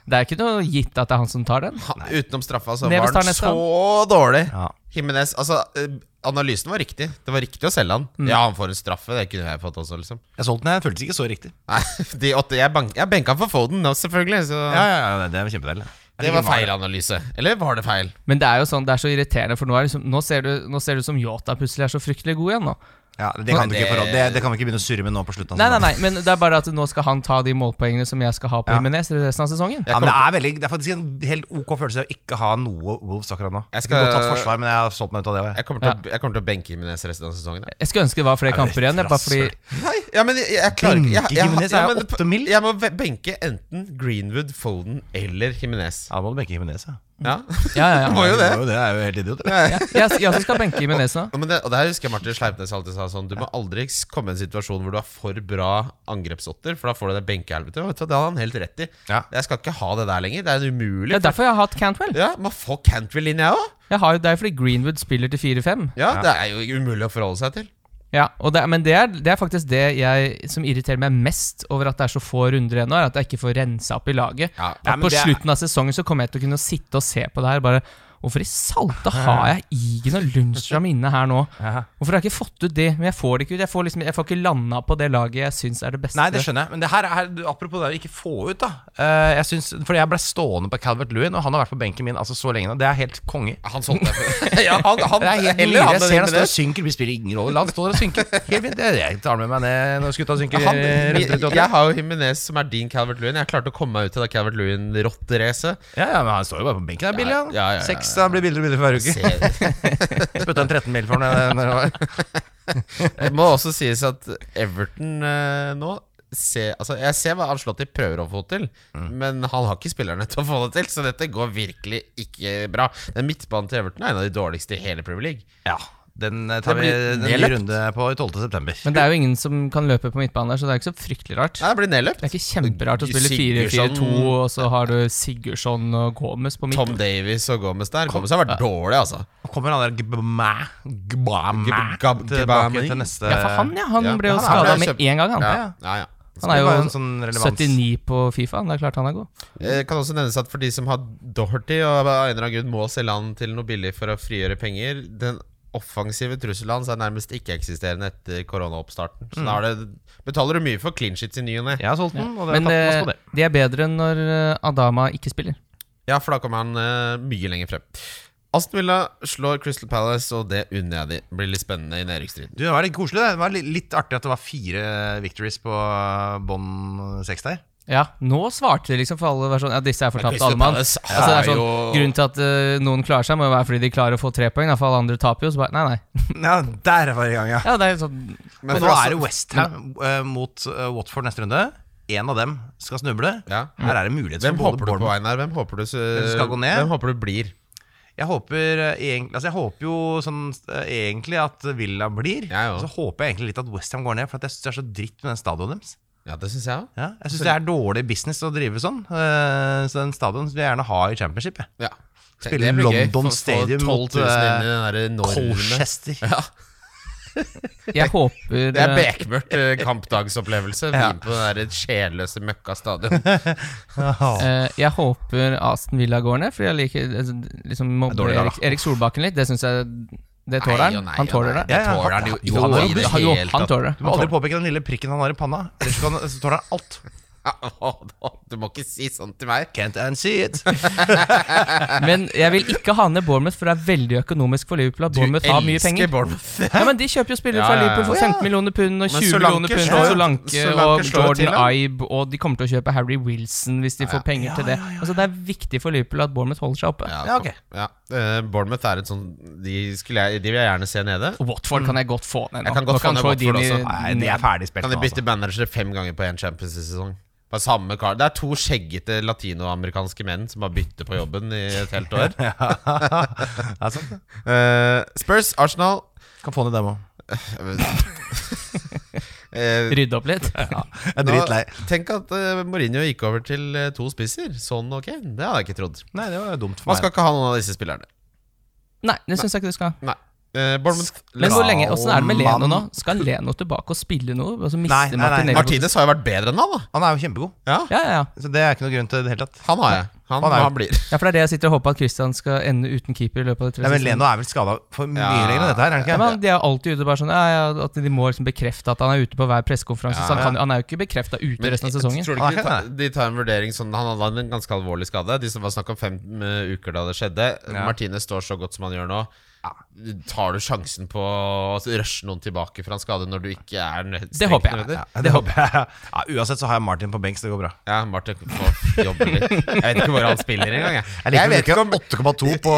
det er ikke noe gitt at det er han som tar den.
han, Utenom straffa, så
Neves
var han
tar neste,
så dårlig.
Ja.
Jimenez Altså, eh, analysen var riktig. Det var riktig å selge han.
Mm.
Ja, han får en straffe. Det kunne jeg fått også, liksom.
Jeg solgte den, jeg føltes ikke så riktig.
Nei, *laughs* de åtte Jeg, bank, jeg benka for Foden nå, selvfølgelig. Så
Ja, ja, ja, Det er kjempedeilig.
det var feil analyse. Eller var det feil?
Men det er jo sånn, det er så irriterende, for nå, er liksom, nå, ser, du, nå ser du som Yota plutselig er så fryktelig god igjen nå.
Ja, det, kan du ikke
Det-
forholde- det, det kan vi ikke begynne å surre med nå på slutten. av
Nei, nei,
sesongen.
nei, men det er bare at nå skal han ta de målpoengene som jeg skal ha på
Ja.
Jimenez resten av sesongen.
Ja, men det, er veldig, det er faktisk en helt ok følelse å ikke ha noe Wolves akkurat nå.
Jeg
Jeg
skal-
skal... Godt tatt forsvar, men jeg har solgt meg ut av det. også, jeg.
Jeg kommer til, å, jeg kommer til å benke Jimenez resten av sesongen. jeg.
Jeg skulle ønske det var flere
Er du
kamper igjen, jeg, bare fordi
Nei, ja, men jeg, jeg klarer ikke jeg,
Benke
jeg,
Jimenez er
ja, men-
åtte mil.
Jeg må ve- benke enten Greenwood, Foden eller Jimenez.
Ja, da må du benke Jimenez, ja.
Ja,
Ja,
*laughs*
ja, ja.
må jo det.
Det er jo, det er jo helt idiot. eller?
Jeg, jeg, jeg også skal benke Jimenez nå.
Ja, men det, og det her husker jeg Martin Sleipnes alltid sa sånn Du må aldri komme i en situasjon hvor du har for bra angrepsåtter, for da får du det benkehelvetet. Og vet du, Det hadde han helt rett i.
Ja.
Jeg skal ikke ha det der lenger. Det er en
Det
umulig.
er derfor jeg har hatt Cantwell.
Ja, Man får Cantwell inn, jeg òg.
Jeg har jo, det er jo fordi Greenwood spiller til 4-5.
Ja, det er jo umulig å forholde seg til.
Ja, og det, men det er, det er faktisk det jeg som irriterer meg mest over at det er så få runder ennå, er at jeg ikke får rensa opp i laget.
Ja.
Ja,
at
men
på
det er-
slutten av sesongen så kommer jeg til å kunne sitte og se på det her og bare Hvorfor i salte har jeg Igen og Lundstrøm inne her nå? Hvorfor har jeg ikke fått ut det? Men jeg får det ikke ut. Jeg får, liksom, jeg får ikke landa på det laget jeg syns er det beste.
Nei, det skjønner jeg. Men det her, er- her apropos det å ikke få ut, da. Eh, jeg synes, fordi jeg ble stående på Calvert Lewin, og han har vært på benken min altså, så lenge nå. Det er helt konge.
Han solgte deg
*laughs*
for ja, han, han,
Det er helt
heller
nydelig.
han
Jeg
enn
ser han
Jimenez.
står og synker. Det spiller ingen rolle. Han står og synker. Helt fint. Det- Jeg tar med meg ned når gutta synker.
han,
eh, rundt
jeg,
38.
jeg har jo Jimenez som er din Calvert Lewin. Jeg klarte å komme meg ut av det Calvert Lewin-rotteracet.
Ja, ja, men han står jo bare på benken. Det er billig, han.
Ja, ja, ja, ja.
Seks han blir billigere og billigere for hver uke. Spytta en 13 mil for eh, ham. Jeg
Det må også sies at Everton eh, nå ser- altså, Jeg ser hva Ancelotti prøver å få til,
Mm.
men han har ikke spillerne til å få det til, så dette går virkelig ikke bra. Den midtbanen til Everton er en av de dårligste i hele Premier League.
*laughs* Ja, den eh, tar
Det
vi
blir
en ny
nedløpt.
runde på i 12. september.
Men det er jo ingen som kan løpe på midtbanen der, så det er jo ikke så fryktelig rart.
Nei, det blir nedløpt.
Det er ikke kjemperart å spille
Sigurdsson-
4-4-2, og så har du Sigurdsson og Gomez på
Tom
midten.
Davies og Gomez der. Gomez har vært dårlig, altså.
Kommer han der Gbamæ Gbamæ
Gb- Gb-
tilbake
Gbamæ.
til neste
Ja, for han, ja. Han
Ja,
ble jo
han er-
skada
han er
med
kjempe-
en gang, han.
Ja, ja, ja.
Han er
Det var en
jo
sånn relevans.
79 på Fifa. Det er klart han er god.
Eh, kan også nevnes at for de som har Doherty og av en eller annen grunn må selge han til noe billig for å frigjøre penger Den offensive trusselen hans er nærmest ikke-eksisterende etter koronaoppstarten.
Mm.
Så da er det, betaler du mye for clean shits i ny og ne.
Jeg har solgt den, og det har
Men
tatt masse
eh,
på det.
de er bedre enn når eh, Adama ikke spiller.
Ja, for da kommer han eh, mye lenger frem. Aston Villa slår Crystal Palace, og det unner jeg de. Blir litt spennende i nedrykksstriden.
Du, det var litt koselig. Det Det var litt, litt artig at det var fire victories på bånd seks der.
Ja, nå svarte de liksom, for alle var sånn Ja, disse er fortapt,
Crystal
alle mann.
Palace
Altså, det er
har
sånn,
jo-
grunnen til at eh, noen klarer seg, må jo være fordi de klarer å få tre poeng. Da, for alle andre taper jo. Så bare, nei, nei.
*laughs* Ja, der var det i gang, ja.
Ja, det er jo *laughs* sånn
Men
for
nå
Aston-
er det Westham uh, mot eh, Watford neste runde. En av dem skal snuble.
Ja.
Her er det mulighet
Hvem
for både
håper du på,
Mm. Bournemouth-
Einar? Hvem håper du, s-
som skal gå ned?
Hvem håper du blir?
Jeg håper, eh, egentlig, altså jeg håper jo sånn, eh, egentlig at Villa blir.
Jeg òg.
Så håper jeg egentlig litt at Westham går ned, for at jeg syns det er så dritt med den stadionet deres.
Ja, det syns jeg òg.
Ja, jeg syns det er dårlig business å drive sånn. eh, så den stadion vil jeg gjerne ha i championship. Jeg.
Ja.
Spille
Det blir gøy.
London
Få- få
Stadium
12 000
mot, eh,
inn i den der normen.
Colchester.
Jeg håper
Det er
eh,
bekmørkt eh, kampdagsopplevelse. Vi
Ja.
er på den der sjelløse møkka stadion.
Eh, jeg håper Aston Villa går ned, fordi jeg liker altså, liksom, mobber
dårlig lag, da.
Erik, Erik Solbakken litt. Det syns jeg Det *laughs* tåler
Nei og
han.
nei
Han
og
tåler
nei.
det.
Ja,
Det
ja.
tåler han jo
Jo,
ikke
han-
i det
han- jo,
hele
han
tatt. *laughs*
tåler det.
Du må aldri påpeke den lille prikken han har i panna. Ellers så kan, så tåler han alt.
Du må ikke si sånn til meg.
Can't unsee it.
Men jeg vil ikke ha ned Bournemouth, for det er veldig økonomisk for Liverpool at
Du
Bournemouth har mye
elsker
penger.
Bournemouth.
Ja, men De kjøper jo spillere fra
Ja, ja, ja.
Liverpool for 15 millioner pund og 20
Solanke
millioner pund.
slår
Og
jo-
Solanke
Solanke
og
slår til,
Jordan
ja.
Ibe, og de kommer til å kjøpe Harry Wilson hvis de får penger til det. Altså Det er viktig for Liverpool at Bournemouth holder seg oppe.
Ja, ok.
ja. Eh, Bournemouth er et sånn De, skulle jeg, de vil jeg gjerne se nede.
Og Watford kan jeg godt få ned.
Mm.
nå.
Jeg kan godt
Nå
få ned
Troy
Watford
Deeney
også.
Nei, de er ferdig spilt
Kan
nå,
de bytte
altså.
manager fem ganger på én Champions-sesong? På samme kar Det er to skjeggete latinoamerikanske menn som har byttet på jobben i et helt
*laughs*
år.
*laughs* Det er sant, det.
Eh, Spurs,
*laughs*
Arsenal
Kan få ned dem òg.
Eh,
Rydde opp litt.
Jeg er
Nå-
dritlei.
Tenk at eh, Mourinho gikk over til eh, to spisser. Sånn, ok. Det hadde jeg ikke trodd.
Nei, det var dumt for
Man
meg.
skal ikke ha noen av disse spillerne.
Nei, det syns jeg ikke du skal.
Nei. Eh, Bournemouth
Men hvor lenge, Åssen er det med
Skal
Leno nå?
man-
Skal Leno tilbake og spille noe? Og så
Nei,
mister
nei, nei.
Martinelli
Martinez har jo vært bedre enn han, da.
Han er jo kjempegod,
Ja, ja, ja.
så det er ikke noe grunn til det hele tatt.
Han har jeg. Han,
Han er-
han blir.
ja, for det er det jeg sitter og håper at Christian skal ende uten keeper i løpet av de
Nei,
tre
men Leno er vel skada for mye
Ja.
lenger enn dette her, er
Ja,
han
men
ikke?
de er alltid ute bare sånn ja, ja, At de må liksom bekrefte at han er ute på hver pressekonferanse. så han,
ja.
kan, han er jo ikke bekrefta ute resten av sesongen.
Tror du
Ah,
ikke de,
kan
tar, de tar en vurdering sånn Han hadde en ganske alvorlig skade. De som var snakk om fem eh, uker da det skjedde.
Ja.
Martinez står så godt som han gjør nå. Tar du sjansen på å rushe noen tilbake fra en skade når du ikke er nø-
Det
strengt
håper jeg.
nødvendig?
Ja, *laughs* det håper jeg. Ja, uansett så har jeg Martin på benk, så det går bra.
Ja, Martin får jobbe litt. Jeg vet ikke hvor han spiller engang. Jeg,
Jeg liker jeg ikke *laughs* 8,2 på,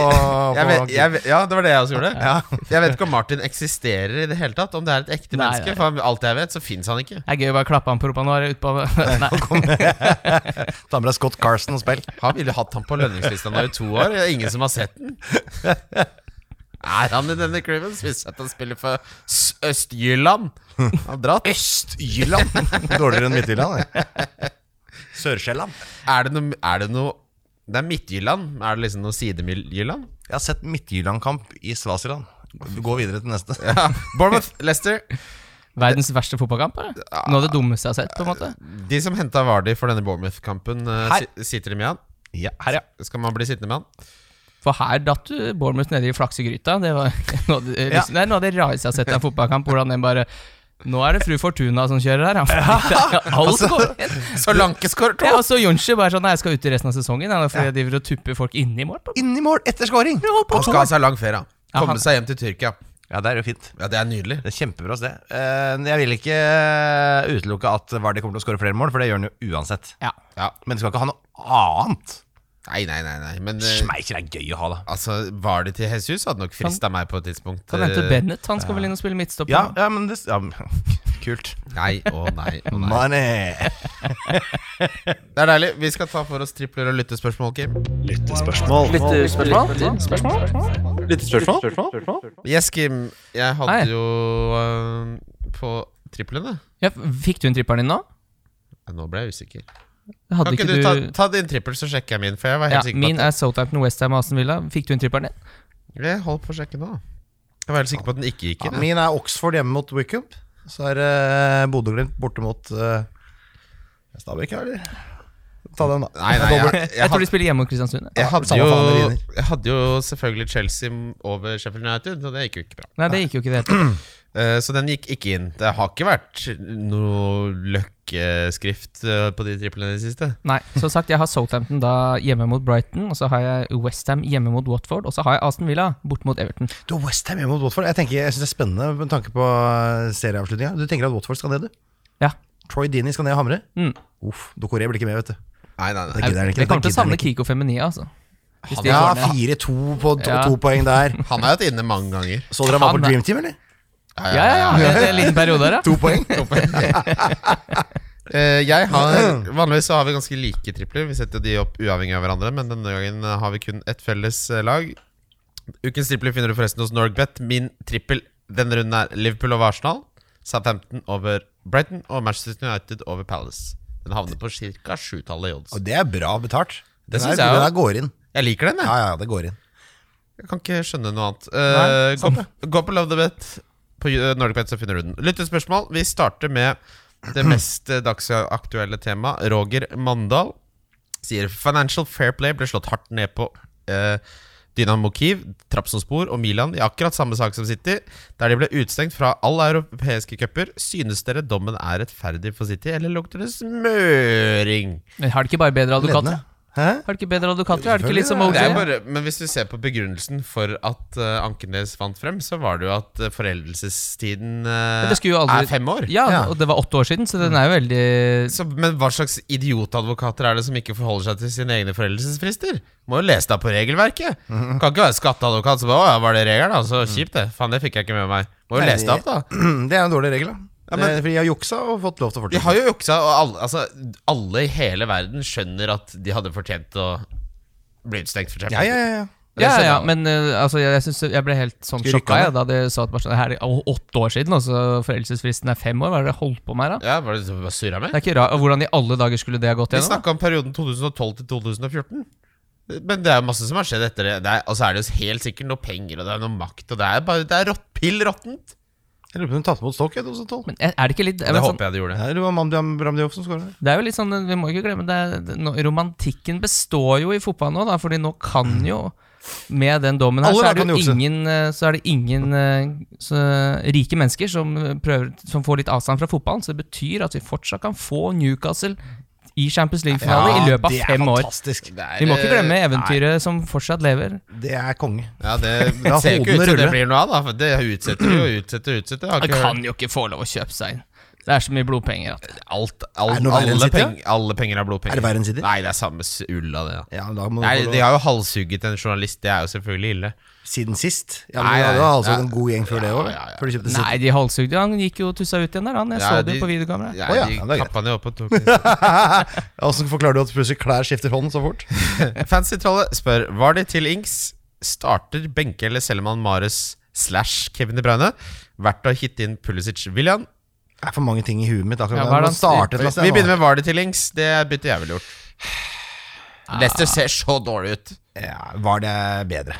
Jeg vet, jeg vet, ja, det var det jeg også gjorde.
Ja.
*laughs* Jeg vet ikke om Martin eksisterer i det hele tatt. Om det er et ekte
Nei,
menneske.
nei.
For alt jeg vet, så fins han ikke.
Det er gøy å bare klappe han på rumpa nå. er det ute
*laughs*
på- Nei.
Ta med deg Scott Carson og spill.
Han ville hatt han på lønningslista nå i to år. Det er ingen som har sett
*laughs*
den. Er han i denne klubben? Hvis at han spiller for S- Øst-Jylland. Han har dratt.
Øst-Jylland! *laughs* Dårligere enn Midt-Jylland. det. Sør-Sjælland.
Er det noe, er det, noe det er Midt-Jylland. Er det liksom noe Side-Jylland?
Jeg har sett Midt-Jylland-kamp i Svasiland. Gå videre til neste.
Ja. Bournemouth, Leicester.
Verdens verste fotballkamp? eller? Noe av det dummeste jeg har sett. på en måte
De som henta Vardy for denne Bournemouth-kampen, eh,
Her.
si- sitter de med han?
*laughs* Ja, her, ja.
Skal man bli sittende med han?
For her datt du Bournemouth nede i flaksegryta. Det var *laughs* noe, av det-
Ja.
det er noe av det rareste jeg har sett av en fotballkamp. Hvordan den bare Nå er det fru Fortuna som kjører her, *laughs* ja. Alt
Altså,
går inn.
Solanke skårer
Ja,
to!
og så Jonchi bare sånn Nei, jeg skal ut i resten av sesongen. Ja, for jeg driver og tupper folk inni mål.
Inni mål etter scoring!
Han skal ha seg lang ferie. han.
Ja, han-
Komme seg hjem til Tyrkia.
Ja, det er jo fint.
Ja, Det er nydelig.
Det er Kjempebra sted. Eh, Jeg vil ikke eh, utelukke at Vardy kommer til å skåre flere mål, for det gjør han jo uansett.
Ja.
Ja.
Men du skal ikke ha noe annet.
Nei, nei, nei. nei. Men eh,
Schmeichel er gøy å ha, da.
altså, var det til Jesus, hadde nok frista meg på et tidspunkt.
Kan vente
Eh,
Bennett. Han skal vel inn og spille midtstopper?
Ja, ja men det ja, *laughs* men- Kult.
Nei og nei og nei.
Money!
Det er deilig. Vi skal ta for oss tripler og lyttespørsmål, Kim. Yes, Kim. Jeg hadde
Hei.
jo eh, på triplene
Ja, fikk du en tripperen din nå?
Nei, Nå ble jeg usikker.
Hadde
Kan ikke du ta, ta din trippel, så sjekker jeg min? For jeg var
ja,
helt sikker
Min
på
er Southampton, Westham og Aston Villa. Fikk du en tripperen din?
at Jeg holdt på å sjekke nå. Jeg var helt sikker på at den ikke gikk
Ja,
inn. jeg.
min er Oxford hjemme mot Wickham. Så er uh, Bodø-Glimt borte mot eh, Stabæk, eller? Ta den, da.
Nei, nei, *laughs* jeg, jeg,
Jeg, tror de spiller hjemme mot Kristiansund. ja.
Jeg hadde,
samme
jo,
faen, de vinner.
jeg hadde jo selvfølgelig Chelsea over Sheffield United, og det gikk jo ikke bra.
Nei, det gikk jo ikke det. hele tatt.
Eh, Så den gikk ikke inn. Det har ikke vært noe løkkeskrift eh, på de triplene i det siste.
Nei, som sagt, jeg har Southampton da hjemme mot Brighton, og så har jeg Westham hjemme mot Watford, og så har jeg Aston Villa borte mot Everton.
Du har Westham hjemme mot Watford. Jeg, tenker, jeg synes det er spennende med tanke på serieavslutninga. Du tenker at Watford skal ned, du?
Ja.
Troy Dini skal ned og hamre?
Mm.
Uff, Dokoré blir ikke med, vet du.
Nei, nei, nei.
Det gidder han ikke.
Jeg kommer til å
Det gidder han
savne
ikke.
Kiko Feminia, altså. Hvis de
Ja,
går ned.
4-2 på to,
Ja.
to poeng der.
Han har jo hatt inne mange ganger.
Så dere han var
Han
på
er-
Dream Team, eller?
ja, ja, ja. Det er en liten periode her, ja.
To poeng.
Eh, Jeg har, vanligvis så har vi ganske like tripler. Vi setter de opp uavhengig av hverandre, men denne gangen eh, har vi kun ett felles eh, lag. Ukens tripler finner du forresten hos Norgbet. Min trippel denne runden er Liverpool over Arsenal, Southampton over Brighton og Manchester United over Palace. Den havner på ca. sjutallet i odds.
Og det er bra betalt.
Det
Den
synes
er-
jeg
Den
jo.
der går inn.
Jeg liker den, jeg.
Ja, ja, det går inn.
Jeg kan ikke skjønne noe annet.
Nei,
Eh,
sant
gå, gå på Love the Bet på eh, Nordic Bet, så finner du den. Lyttespørsmål. Vi starter med
*clears throat*
det mest eh, dagsaktuelle temaet. Roger Mandal sier Financial Fair Play ble slått hardt ned på eh, Dynamo Kiev, Trabzonspor og Milan i akkurat samme sak som City, der de ble utestengt fra alle europeiske cuper. Synes dere dommen er rettferdig for City, eller lukter det smøring?
Men Har de ikke bare bedre advokater?
Ledende. Hæ? *clears throat*
Har de ikke bedre advokater? Er det ikke litt som
Selvfølgelig,
Det er
OJ?
bare, men hvis du ser på begrunnelsen for at eh, anken deres fant frem, så var det jo at eh, foreldelsestiden eh,
Men det skulle jo aldri-
er fem år.
Ja,
Ja.
og det var åtte år siden, så den er jo veldig
Så, men hva slags idiotadvokater er det som ikke forholder seg til sine egne foreldelsesfrister? Må jo lese deg på regelverket.
Mhm.
Kan ikke være skatteadvokat som bare 'Å ja, var det regelen?' da? Så kjipt, det. Faen, det fikk jeg ikke med meg. Må jo
Nei,
lese deg opp, da.
Det er en dårlig regel, da.
Ja, men-
Det er fordi jeg har juksa og fått lov til å
De
fortsette.
har jo juksa, og alle, altså, alle i hele verden skjønner at de hadde fortjent å bli utestengt, for eksempel.
Ja, ja, ja, ja.
Ja,
skjønner
ja,
jeg.
men eh, altså, jeg, jeg, synes, jeg ble helt sånn
Skulle
sjokka
rykka
jeg, da de sa at bare sånn, her, er det å- åtte år siden, og så foreldelsesfristen er fem år. Hva er det dere holdt på med her, da?
Ja, var det bare surra med?
Det er ikke rart, og Hvordan i alle dager skulle det ha gått
Vi
gjennom? da?
snakka om perioden 2012 til 2014. Men det er jo masse som har skjedd etter det. det er, og så er det jo helt sikkert noe penger og det er noe makt. Og det er bare det er rått, pill råttent.
Jeg lurer på om hun tatt imot Stoke i 2012.
Men er er det ikke litt
Det
men sånn,
håper jeg det gjorde.
Ja, det var Mandiam Bramdiov som skåra.
Det er jo litt sånn, vi må ikke glemme det, det nå, Romantikken består jo i fotball nå, da, Fordi nå kan jo Med den dommen her,
Alle
så er,
lag
det jo
kan jukse.
ingen, eh, så er det ingen eh, så, rike mennesker som, prøver, som får litt avstand fra fotballen. Så det betyr at vi fortsatt kan få Newcastle i Champions League-finale i løpet av fem år.
fantastisk.
Vi må ikke glemme eventyret som fortsatt lever.
Det er konge.
eh, Ja,
*laughs*
det
La
ser jo ikke ut
hodene
som det
rulle.
blir noe av, da. For det utsetter jo, utsetter, utsetter. Har
Han
ikke
kan
hørt-
jo ikke få lov å kjøpe seg inn. Det er så mye blodpenger at
Alt,
Er det
alt,
noe verre enn
alle,
City,
peng, alle penger er blodpenger.
Er det verre enn City?
Nei, det er samme s- ull av det. Ja.
Ja, da må du
Nei,
få lov-
de har jo halshugget en journalist. Det er jo selvfølgelig ille.
Siden sist. Ja, men
Nei,
Du hadde
nei,
altså
ja.
en god gjeng før det òg,
ja, ja.
før de kjøpte City.
Nei, de halshugde Han gikk jo tussa ut igjen der, han. Jeg
Ja,
så det
de-
jo på videokamera.
Ja,
Å, ja,
de
ja, det er greit.
kappa den jo opp og tok den.
*laughs* Åssen forklarer du at plutselig klær skifter hånd så fort?
Fancy-trollet spør Var det til Ings starter benke eller Selman Mares slash Kevin De Bruyne verdt å hitte inn Pulisic William?
Det er for mange ting i huet mitt. akkurat
Ja,
nå.
hva er det
Nå
han-
startet altså.
Vi
Lasse,
vi
nå.
begynner med var det til Ings. Det bytte jeg vel gjort.
Ah.
Leicester ser så dårlig ut.
ja, Var det bedre?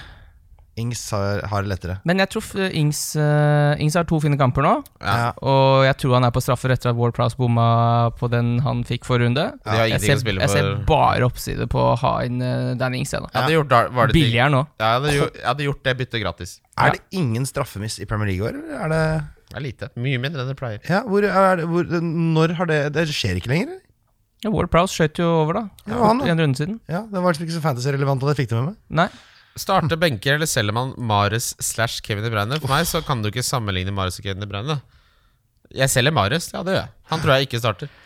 Ings har, har det lettere.
Men jeg tror eh, Ings, eh, Ings har to fine kamper nå.
Ja.
Og jeg tror han er på straffer etter at Ward Prowse bomma på den han fikk forrige runde.
De har
Jeg
ingenting
ser,
å spille
jeg ser
for.
bare oppside på å ha inn eh, Danny Ings. Jeg, da.
Jeg hadde gjort, da- var det ting-
Billigere nå.
Ja, jeg, hadde gjort, jeg hadde gjort det byttet gratis.
Er det ingen straffemiss i Premier League i år? eller Er det,
Det er lite. Mye mindre enn det pleier.
ja, hvor, er det, hvor, når har det Det skjer ikke lenger?
Ja, Ward Prowse skjøt jo over, da.
Ja, han,
For
da.
en runde siden.
ja, det var liksom ikke så fantasy-relevant at jeg fikk det med meg.
Nei. *laughs*
Starte benker eller selger man Mares slash Kevin De Bruyne? For meg så kan du ikke sammenligne Mares og Kevin De Bruyne. Jeg selger Mares, ja det gjør jeg. Han tror jeg ikke starter.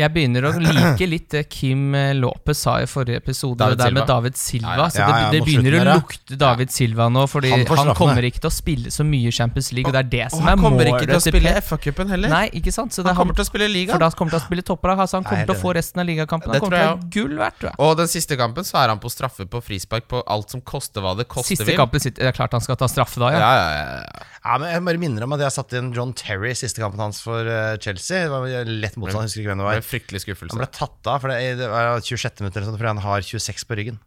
Jeg begynner å like litt det Kim eh, Lopez sa i forrige episode,
David
det der med
Silva.
David Silva.
Ja, ja.
Så det,
Ja, ja,
det
mot
begynner
slutten
å
der, ja.
lukte David Silva nå, fordi
Han
han,
får straffene.
kommer ikke til å spille så mye i Champions League. Og det er det som er
han kommer
målet
ikke til å
Pep.
spille FA-cupen heller.
Nei, ikke sant? Så det,
han kommer til å spille liga.
for da kommer han til å spille topper, altså han
Nei,
kommer til å
det-
få resten av ligakampene.
Det
Han
tror
kommer til å
jeg
ha gull hvert, tror jeg.
Og den siste kampen så er han på straffe på frispark på alt som koster hva det koster
Siste
vil.
kampen sitt, Det er klart han skal ta straffe da, ja.
Ja, ja, ja, ja.
Ja, men Jeg bare minner om at jeg satt igjen John Terry i siste kampen hans for eh, Chelsea. Det var lett motstand, jeg husker ikke hvem det
Det var
var.
en fryktelig
Han
skuffelse.
ble tatt av for det, det var 26 minutter eller sånt, fordi han har 26 på ryggen.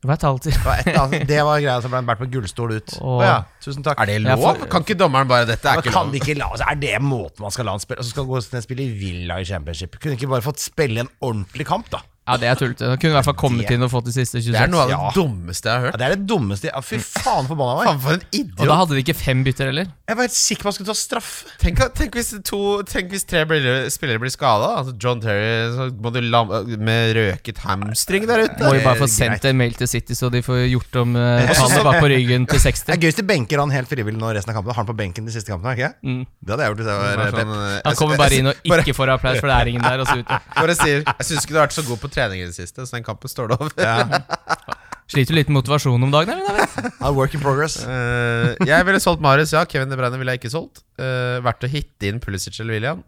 Jeg vet alltid.
Det var, et, eller annet- det var greia som ble han båret på gullstol ut. Å
Åh.
ja, tusen takk.
Er det
Jeg
lov?
får-
Kan ikke dommeren bare Dette er
Da
ikke
kan
lov.
de ikke la, altså, er det måten man skal la han spille? Og så skal han gå ned og spille i Villa i Championship. Kunne ikke bare fått spille en ordentlig kamp, da?
Ja, det er tullete. Han kunne i hvert fall kommet
Det-
inn og fått de siste 26.
Det er noe av det
Ja.
dummeste jeg har
Ja,
hørt.
det er det dummeste jeg- ja, Fy faen, forbanna meg.
Faen, for en
og da
idiot.
hadde de ikke fem bytter heller.
Jeg var helt sikker på at han skulle ta straffe.
Tenk, tenk, hvis to, tenk hvis tre blir- spillere blir skada. Altså John Terry så må du lam med røket hamstring der ute.
Må jo bare
er
få sendt en mail til City, så de får gjort om uh,
*laughs*
synes
tallet
det-
bak på ryggen til
Det
60.
er gøy hvis de benker han helt frivillig nå resten av kampen. Har han på benken de siste kampene, ikke Mm. Det hadde jeg gjort hvis jeg var
Bare
eh, Pep.
sånn, eh,
Han kommer bare inn og ikke får applaus, for det er ingen der. Og så ut.
Bare sier Jeg syns ikke du har vært så god på trening i det siste, så den kampen står det over.
Sliter du litt med motivasjon om dagen, eller? David?
Ja, Ah, work in progress.
*laughs* Eh, jeg ville solgt Marius, ja. Kevin De Bruyne ville jeg ikke solgt. Uh, verdt å hitte inn Pulisic eller William.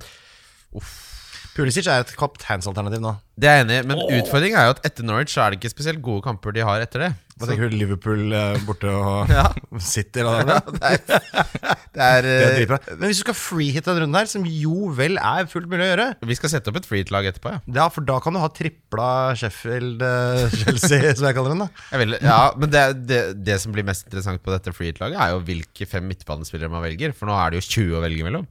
Pulisic er et kapteinsalternativ nå.
Det er jeg enig i, men utfordringen er jo at etter Norwich så er det ikke spesielt gode kamper de har etter det.
Hva tenker du Liverpool eh, borte *laughs* og City eller noe? *laughs*
det er,
Det er
eh,
dritbra. Men hvis du skal freehitte denne runden her, som jo vel er fullt mulig å gjøre
vi skal sette opp et freet-lag etterpå, ja.
Ja, for da kan du ha tripla Sheffield eh, *laughs* Chelsea, som jeg kaller den. da
Jeg vil, ja, men det, det, det som blir mest interessant på dette freehit-laget, er jo hvilke fem midtbanespillere man velger. For nå er det jo 20 å velge mellom.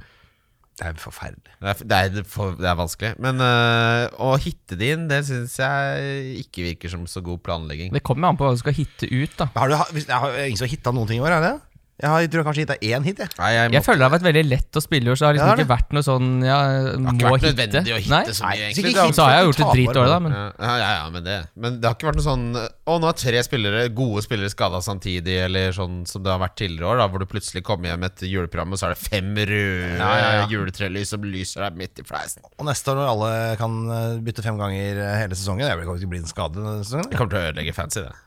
Det er forferdelig.
Det er, det er, for, det er vanskelig. Men øh, å hitte de inn, det syns jeg ikke virker som så god planlegging.
Det kommer an på hva du skal hitte ut, da.
Har du, ha- hvis- jeg har ingen som har hitta noen ting i år, er det? Jeg, har, jeg tror jeg kanskje hitta én hit, jeg.
Nei, jeg må,
Jeg føler det har vært veldig lett å spille i år, så det har liksom
Ja, det er
ikke vært noe sånn ja,
det har
må
ikke vært
hitte.
nødvendig å hitte
Nei?
så mye,
Nei,
egentlig.
ikke
Det har-
hit.
Så har jeg gjort et
Du taper
dritår, da,
bare.
men
ja, ja, ja, men, det. men det har ikke vært noe sånn Å, nå er tre spillere, gode spillere skada samtidig, eller sånn som det har vært tidligere år, da, hvor du plutselig kommer hjem etter juleprogrammet, og så er det fem røde juletrelys som lyser deg midt i fleisen.
Og neste år, når alle kan eh, bytte fem ganger eh, hele sesongen Jeg kommer ikke til å bli en skade denne sesongen.
Det kommer til å ødelegge fancy, det.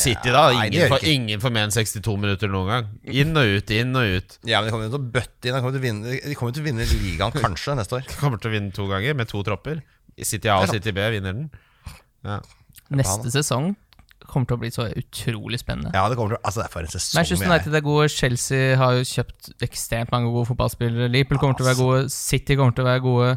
City, da.
nei, det
Ingen,
gjør
får,
ikke.
ingen får mer enn 62 minutter noen gang. Inn og ut, inn og ut.
Ja, men De kommer jo til å bøtte inn. De kommer til å vinne, de kommer til å vinne
*laughs*
ligaen kanskje neste år.
Kommer til å vinne to ganger med to tropper. City A og City B vinner den.
neste sesong kommer til å bli så utrolig spennende.
Ja, det kommer til å Altså, det er for en sesong.
Manchester
jeg-
United er gode, Chelsea har jo kjøpt ekstremt mange gode fotballspillere. Liverpool kommer til å være gode, City kommer til å være gode.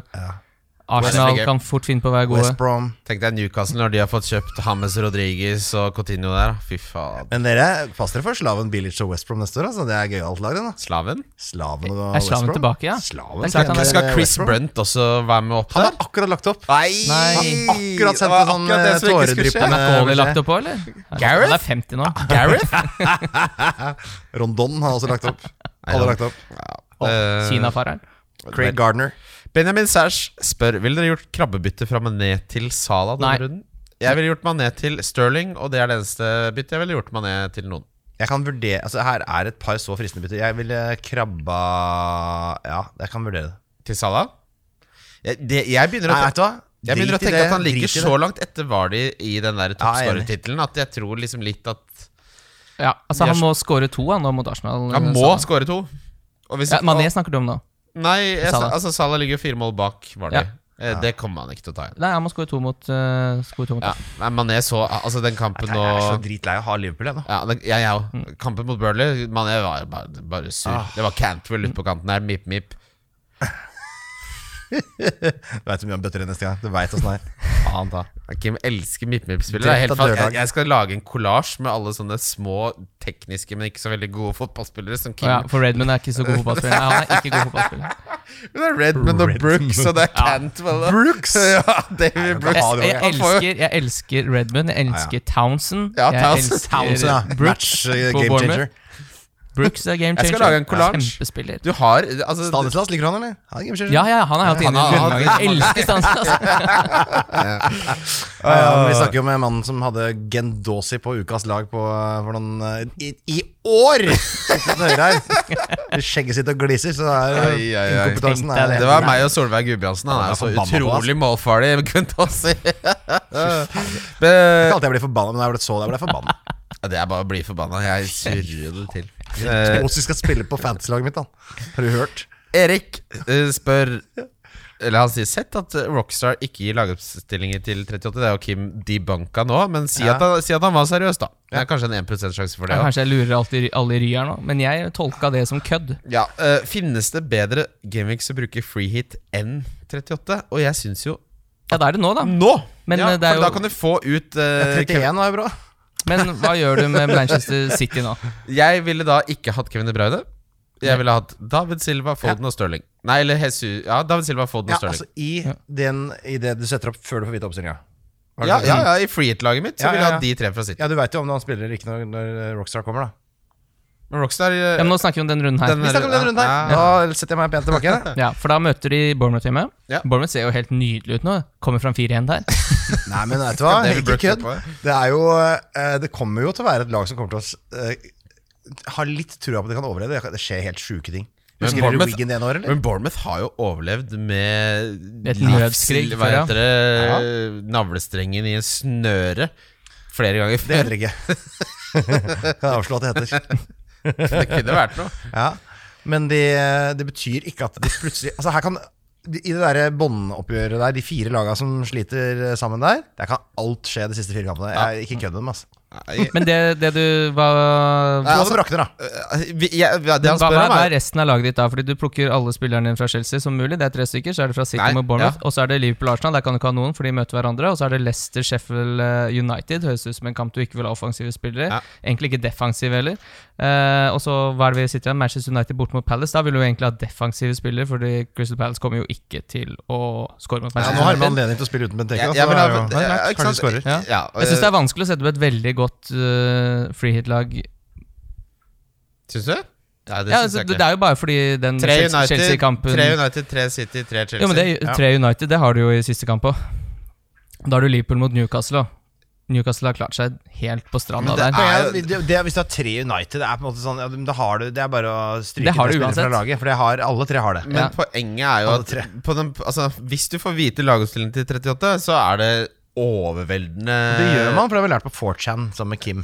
Arsenal
West-
kan fort finne på å være gode.
West Brom.
Tenk deg Newcastle når de har fått kjøpt James Rodriguez og Coutinho der. Fy faen.
Men dere, pass dere for Slaven Bilic og West Brom neste år. Altså. Det er gøyalt lag, det. da.
Slaven?
Slaven og
Er Slaven
West Brom.
tilbake, ja?
Slaven,
Det er klart
skal-
han er-
Skal Chris
West Brom?
Brunt også være med opp
Han har
der?
akkurat lagt opp.
Nei.
Han har akkurat sendt en sånn
akkurat det som ikke skulle skje.
Men
tåredryppende
er Cawley lagt opp òg, eller?
Gareth?
Han er 50 nå. *laughs*
Gareth?
Rondon har også lagt opp. Alle har lagt opp.
Eh,
Kinafareren.
Craig Gardner.
Benjamin Sash spør Vil dere gjort krabbebytte fra Mané til Sala denne
Nei.
runden? Jeg ville gjort Mané til Sterling, og det er det eneste byttet jeg ville gjort Mané til noen.
Jeg kan vurdere Altså Her er et par så fristende bytter. Jeg ville krabba Ja, jeg kan vurdere det.
Til Sala? Jeg, det, jeg begynner å,
Nei, vet du hva?
jeg begynner å
Drit i
tenke
det,
at han ligger
drit i
så
det.
langt etter Vardy i den der
Ja, jeg er enig.
toppskårertittelen at jeg tror liksom litt at
Ja, altså
De er
Han må score to han nå mot Arsenal.
Han
eh,
må
Salah.
skåre to. Og hvis,
ja, Mané
og,
snakker du om nå.
nei, jeg, sa-
Salah.
altså Sala ligger jo fire mål bak Vardy.
Ja.
Eh, Det kommer han ikke til å ta igjen.
Nei, han må score to mot, eh, score to mot
Ja, nei, Mané så Altså, den kampen nå
Jeg er så dritlei av å ha Liverpool, jeg nå.
Ja, det- jeg òg. Kampen mot Burnley Mané var bare, bare sur. Det var Cantwell ute på kanten her. Mip, mip.
*laughs* Du veit så mye om bøtter i neste gang. Du vet åssen det er.
faen ta.
Kim elsker MIP-MIP-spillere. Det er helt
Drept
fan-
av
Jeg,
dørdag.
jeg skal lage en kollasj med alle sånne små, tekniske, men ikke så veldig gode fotballspillere som Kim.
Ja, for Redmond er ikke så god fotballspiller. Nei, han er ikke god fotballspiller.
Men det er Redmond og Brooks, og det er Cantwell og Brooks! *laughs* Ja, David Brooks.
Ja,
Jeg,
det var-
jeg, elsker, jeg elsker Redmond, jeg elsker Townsend.
Ja,
jeg
Townsend. uh,
elsker
Townsend, ja.
Brooks
Match, eh,
på
game
Bournemouth.
changer.
Brooks er game changer.
Jeg skal lage en collage.
Kjempespiller.
Du har altså,
Stanislas, liker han, eller? Han er game changer.
Ja, ja, han er alltid
Han
inne i
er- han er-
grunnlaget. Jeg
*laughs*
elsker Stansel, altså.
Ja, ja, men vi snakker jo med mannen som hadde Gendosi på ukas lag på, eh, for noen, eh, i, i
*laughs*
år! Sitter og hører her. Det Skjegget sitt og gliser, så er
Ai, ai, ai.
inkompetansen
Tenkte jeg
er
Det var meg og Solveig Gudbrandsen. Han
Ja,
er så
forbanna på
utrolig målfarlig. *laughs* Kunne ta si. Men-
Jeg kalte jeg ble forbanna, men da jeg ble så det, jeg ble forbanna.
Ja, Det er bare å bli forbanna. Jeg surrer det til. Eh,
Gendosi skal spille på fantasy-laget mitt, han. Har du hørt?
Erik eh, spør Eller han sier sett at eh, Rockstar ikke gir lagoppstillinger til 38. Det er jo Kim debunka nå, men si, at han, si at han var seriøs, da. Det er kanskje en 1 sjanse for det. også.
Kanskje jeg lurer alltid, alle i ry her nå, men jeg tolka det som kødd.
Ja, eh, Finnes det bedre gameweeks å bruke free hit enn 38? Og jeg syns jo
Ja, det er det nå, da.
Nå!
Men,
ja,
eh, det er
for
jo-
da kan du få ut eh,
31 var jo bra.
Men hva gjør du med Manchester City nå?
Jeg ville da ikke hatt Kevin De Bruyne. Jeg ville hatt David Silva, Foden og Sterling. Nei, eller Jesus Ja, David Silva, Foden
Ja,
og Sterling.
altså i, den, I det du setter opp før du får vite oppstillinga.
ja, ja, ja, I free hit-laget mitt så
Ja,
ville
ja,
jeg
ja.
hatt de tre fra City.
Ja, du veit jo om han spiller eller ikke når, når Rockstar kommer, da.
Men Rockstar eh,
Ja, men nå snakker vi om den runden
Den
her.
Vi snakker om den runden her. Da setter jeg meg pent
*laughs*
tilbake.
Ja, For da møter de Bournemouth hjemme.
Ja.
Bournemouth ser jo helt nydelig ut nå. Kommer fram 4-1 der.
Nei, men vet du hva?
David
Ikke
Brooks
kødd.
etterpå,
Det er jo eh, Det kommer jo til å være et lag som kommer til å s- eh, ha litt trua på at de kan overleve. Det skjer helt sjuke ting.
Men
Husker dere
Bournemouth-
Wigan det ene året, eller?
Men Bournemouth har jo overlevd med
Et nødskrig,
Hva
ja.
heter det? Navlestrengen i en snøre flere ganger
Det
før.
heter ikke. *laughs* kan jeg avslå at det heter.
Det kunne vært noe.
Ja. Men det, det betyr ikke at de plutselig Altså her kan i det der båndoppgjøret der, de fire laga som sliter eh, sammen der, der kan alt skje de siste fire kampene. Jeg, ikke kødd med dem, altså.
Nei,
Men det, det du var
Få som rakner, altså, da.
eh, vi- jeg- ja, Det han
hva,
spør
hva
om,
hva er
er
resten av laget ditt da? Fordi du plukker alle spillerne dine fra Chelsea som mulig. Det er tre stykker. Så er det fra City
Nei,
med Bournemouth.
ja.
Og så er det Liverpool Arsenal. Der kan du ikke ha noen, for de møter hverandre. Og så er det Leicester Sheffield eh, United. Høres ut som en kamp du ikke vil ha offensive spillere.
Ja.
Egentlig ikke defensive heller. Eh, og så hva er det vi sitter igjen? Manchester United bort mot Palace. Da vil du jo egentlig ha defensive spillere, fordi Crystal Palace kommer jo ikke til å score mot
Ja,
Manchester
nå har vi
United.
anledning til å spille uten altså. Bent
Jeg-
Eke.
jeg vil ha-
Nei,
ja,
nei,
ikke
kanskje
sant?
de skårer.
Ja.
ja,
Jeg syns det er vanskelig å sette opp et veldig godt uh, freehit-lag.
Syns eh, du? Nei, det
Ja,
syns
altså,
jeg
det,
ikke.
det er jo bare fordi den
Tre
Chelsea-
United,
Chelsea-kampen
tre United, tre City, tre Chelsea.
Jo, men det,
Ja.
tre United, det har du jo i siste kamp òg. Da har du Liverpool mot Newcastle. da. Newcastle har klart seg helt på stranda
Det
der.
er, det, det, hvis du har tre United, det er på en måte sånn ja, men da har du, Det er bare å stryke
Det har
tre
du
spillere fra
uansett.
laget. For det har, alle tre har det.
Men
Ja.
poenget er jo
Alle
at
tre.
på den, altså, hvis du får vite lagoppstillingen til 38, så er det overveldende
Det gjør man, for det har vi lært på 4chan sammen med Kim.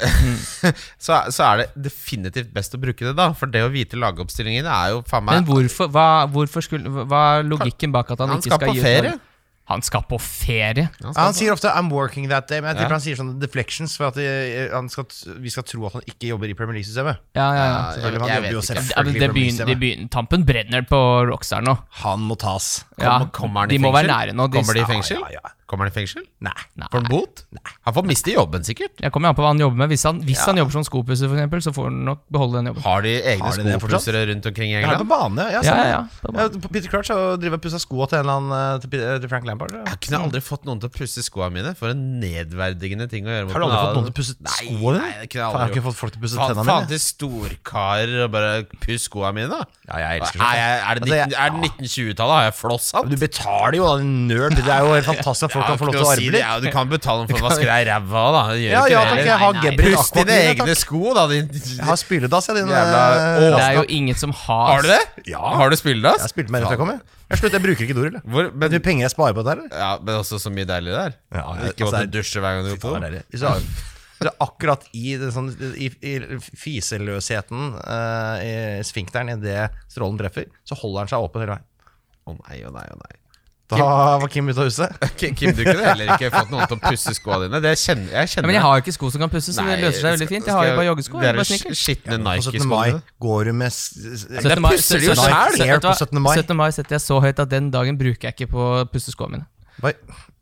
Så, så er det definitivt best å bruke det, da. For det å vite lagoppstillingen er jo faen meg
Men hvorfor, hva, hvorfor skulle, hva er logikken bak at han,
Han
ikke
skal
skal,
på
gi ut
ferie.
noen- Han skal på ferie?
Ja, han sier ofte 'I'm working that day', men jeg
Ja.
tipper han sier sånn deflections for at de, han skal, vi skal tro at han ikke jobber i Premier League-systemet.
Ja, ja, ja.
Ja,
Selvfølgelig,
jeg
Han jobber jo
vet ikke.
ja men
selvfølgelig i
det
Premier
begynner, de
League-systemet.
begynner, tampen brenner på Rockstar nå.
Han må tas.
Ja,
Kommer- kommer han i
de må være
fengsel?
nære nå. De,
Kommer de i
Ja,
fengsel?
ja, ja.
Kommer han i fengsel?
Nei.
Nei.
Får han bot? Han får miste jobben, sikkert.
Jeg kommer an på hva han jobber med. Hvis han, hvis han jobber som skopusser, for eksempel, så får han nok beholde den jobben.
Har de egne
Har de det fortsatt?
skopussere rundt omkring i
Jeg har det
England?
på bane. Ja,
Ja,
sånn.
ja, ja. Da
Ja,
bare-
Peter Crouch har jo drevet og pussa skoa til, en eller annen, eh, til, Pe- til Frank Lampard.
Jeg kunne aldri fått noen til å pusse skoene mine. For en nedverdigende ting å gjøre. mot
Har du aldri
en
fått noen
annen.
til å pusse
Nei, Nei,
skoene dine?
det kunne jeg
Faen, Jeg har
aldri
ikke
gjort.
fått folk til å pusse
Faen,
tennene
faen
mine.
til storkarer og bare puss skoa mine, da.
Ja, jeg elsker
Nei,
sånt.
jeg- er det,
Altså, jeg-
19, er det 1920-tallet? Har jeg
Men
flosshatt?
Du betaler jo, da, din nerd. Det er jo
*laughs*
helt fantastisk at folk kan få lov til å
si
arve
det,
litt.
ja, du kan betale for å vaske deg i ræva, da. Det gjør
Ja,
ikke
ja,
det
takk.
heller.
Jeg har
Nei, nei,
Gebber
Puss dine egne sko, da, din
Jeg har spyledass, jeg, din
Jævla-
eh,
Å.
Det
rass.
er jo ingen som har
Har du det? Har du
Jeg har
spilledass?
spilt meg rett til jeg kom, jeg. Jeg, slutter, jeg bruker ikke Doril. jeg.
Hvor,
Vet du
men,
hvor penger jeg sparer på dette? her, eller?
ja, men også så mye deilig det er.
Ja, jeg-
ikke
altså,
måtte
det er-
dusje hver gang du
Fy
går
faen,
på do.
det er- Hvis du har- det er akkurat i, det, sånn, i, i fiseløsheten eh, i sfinkteren idet strålen treffer, så holder den seg åpen hele veien.
Å nei, å nei, å nei.
Da var Kim ute av huset.
*laughs* Kim, Kim, du kunne heller ikke fått noen til å pusse skoa dine. Det kjenner, jeg
Ja,
kjenner
men jeg har jo ikke sko som kan pusses, så
Nei,
det løser seg veldig
skal-
fint. Jeg har jo
skal-
bare joggesko.
Det
eller
er
bare
jo
sneakers.
skitne
På 17.
Nike-sko.
mai
dine.
går du med s- s-
Det pusser de jo
Nike
selv.
Air på 17. mai.
17. mai setter jeg så høyt at den dagen bruker jeg ikke på pusseskoene mine.
Oi.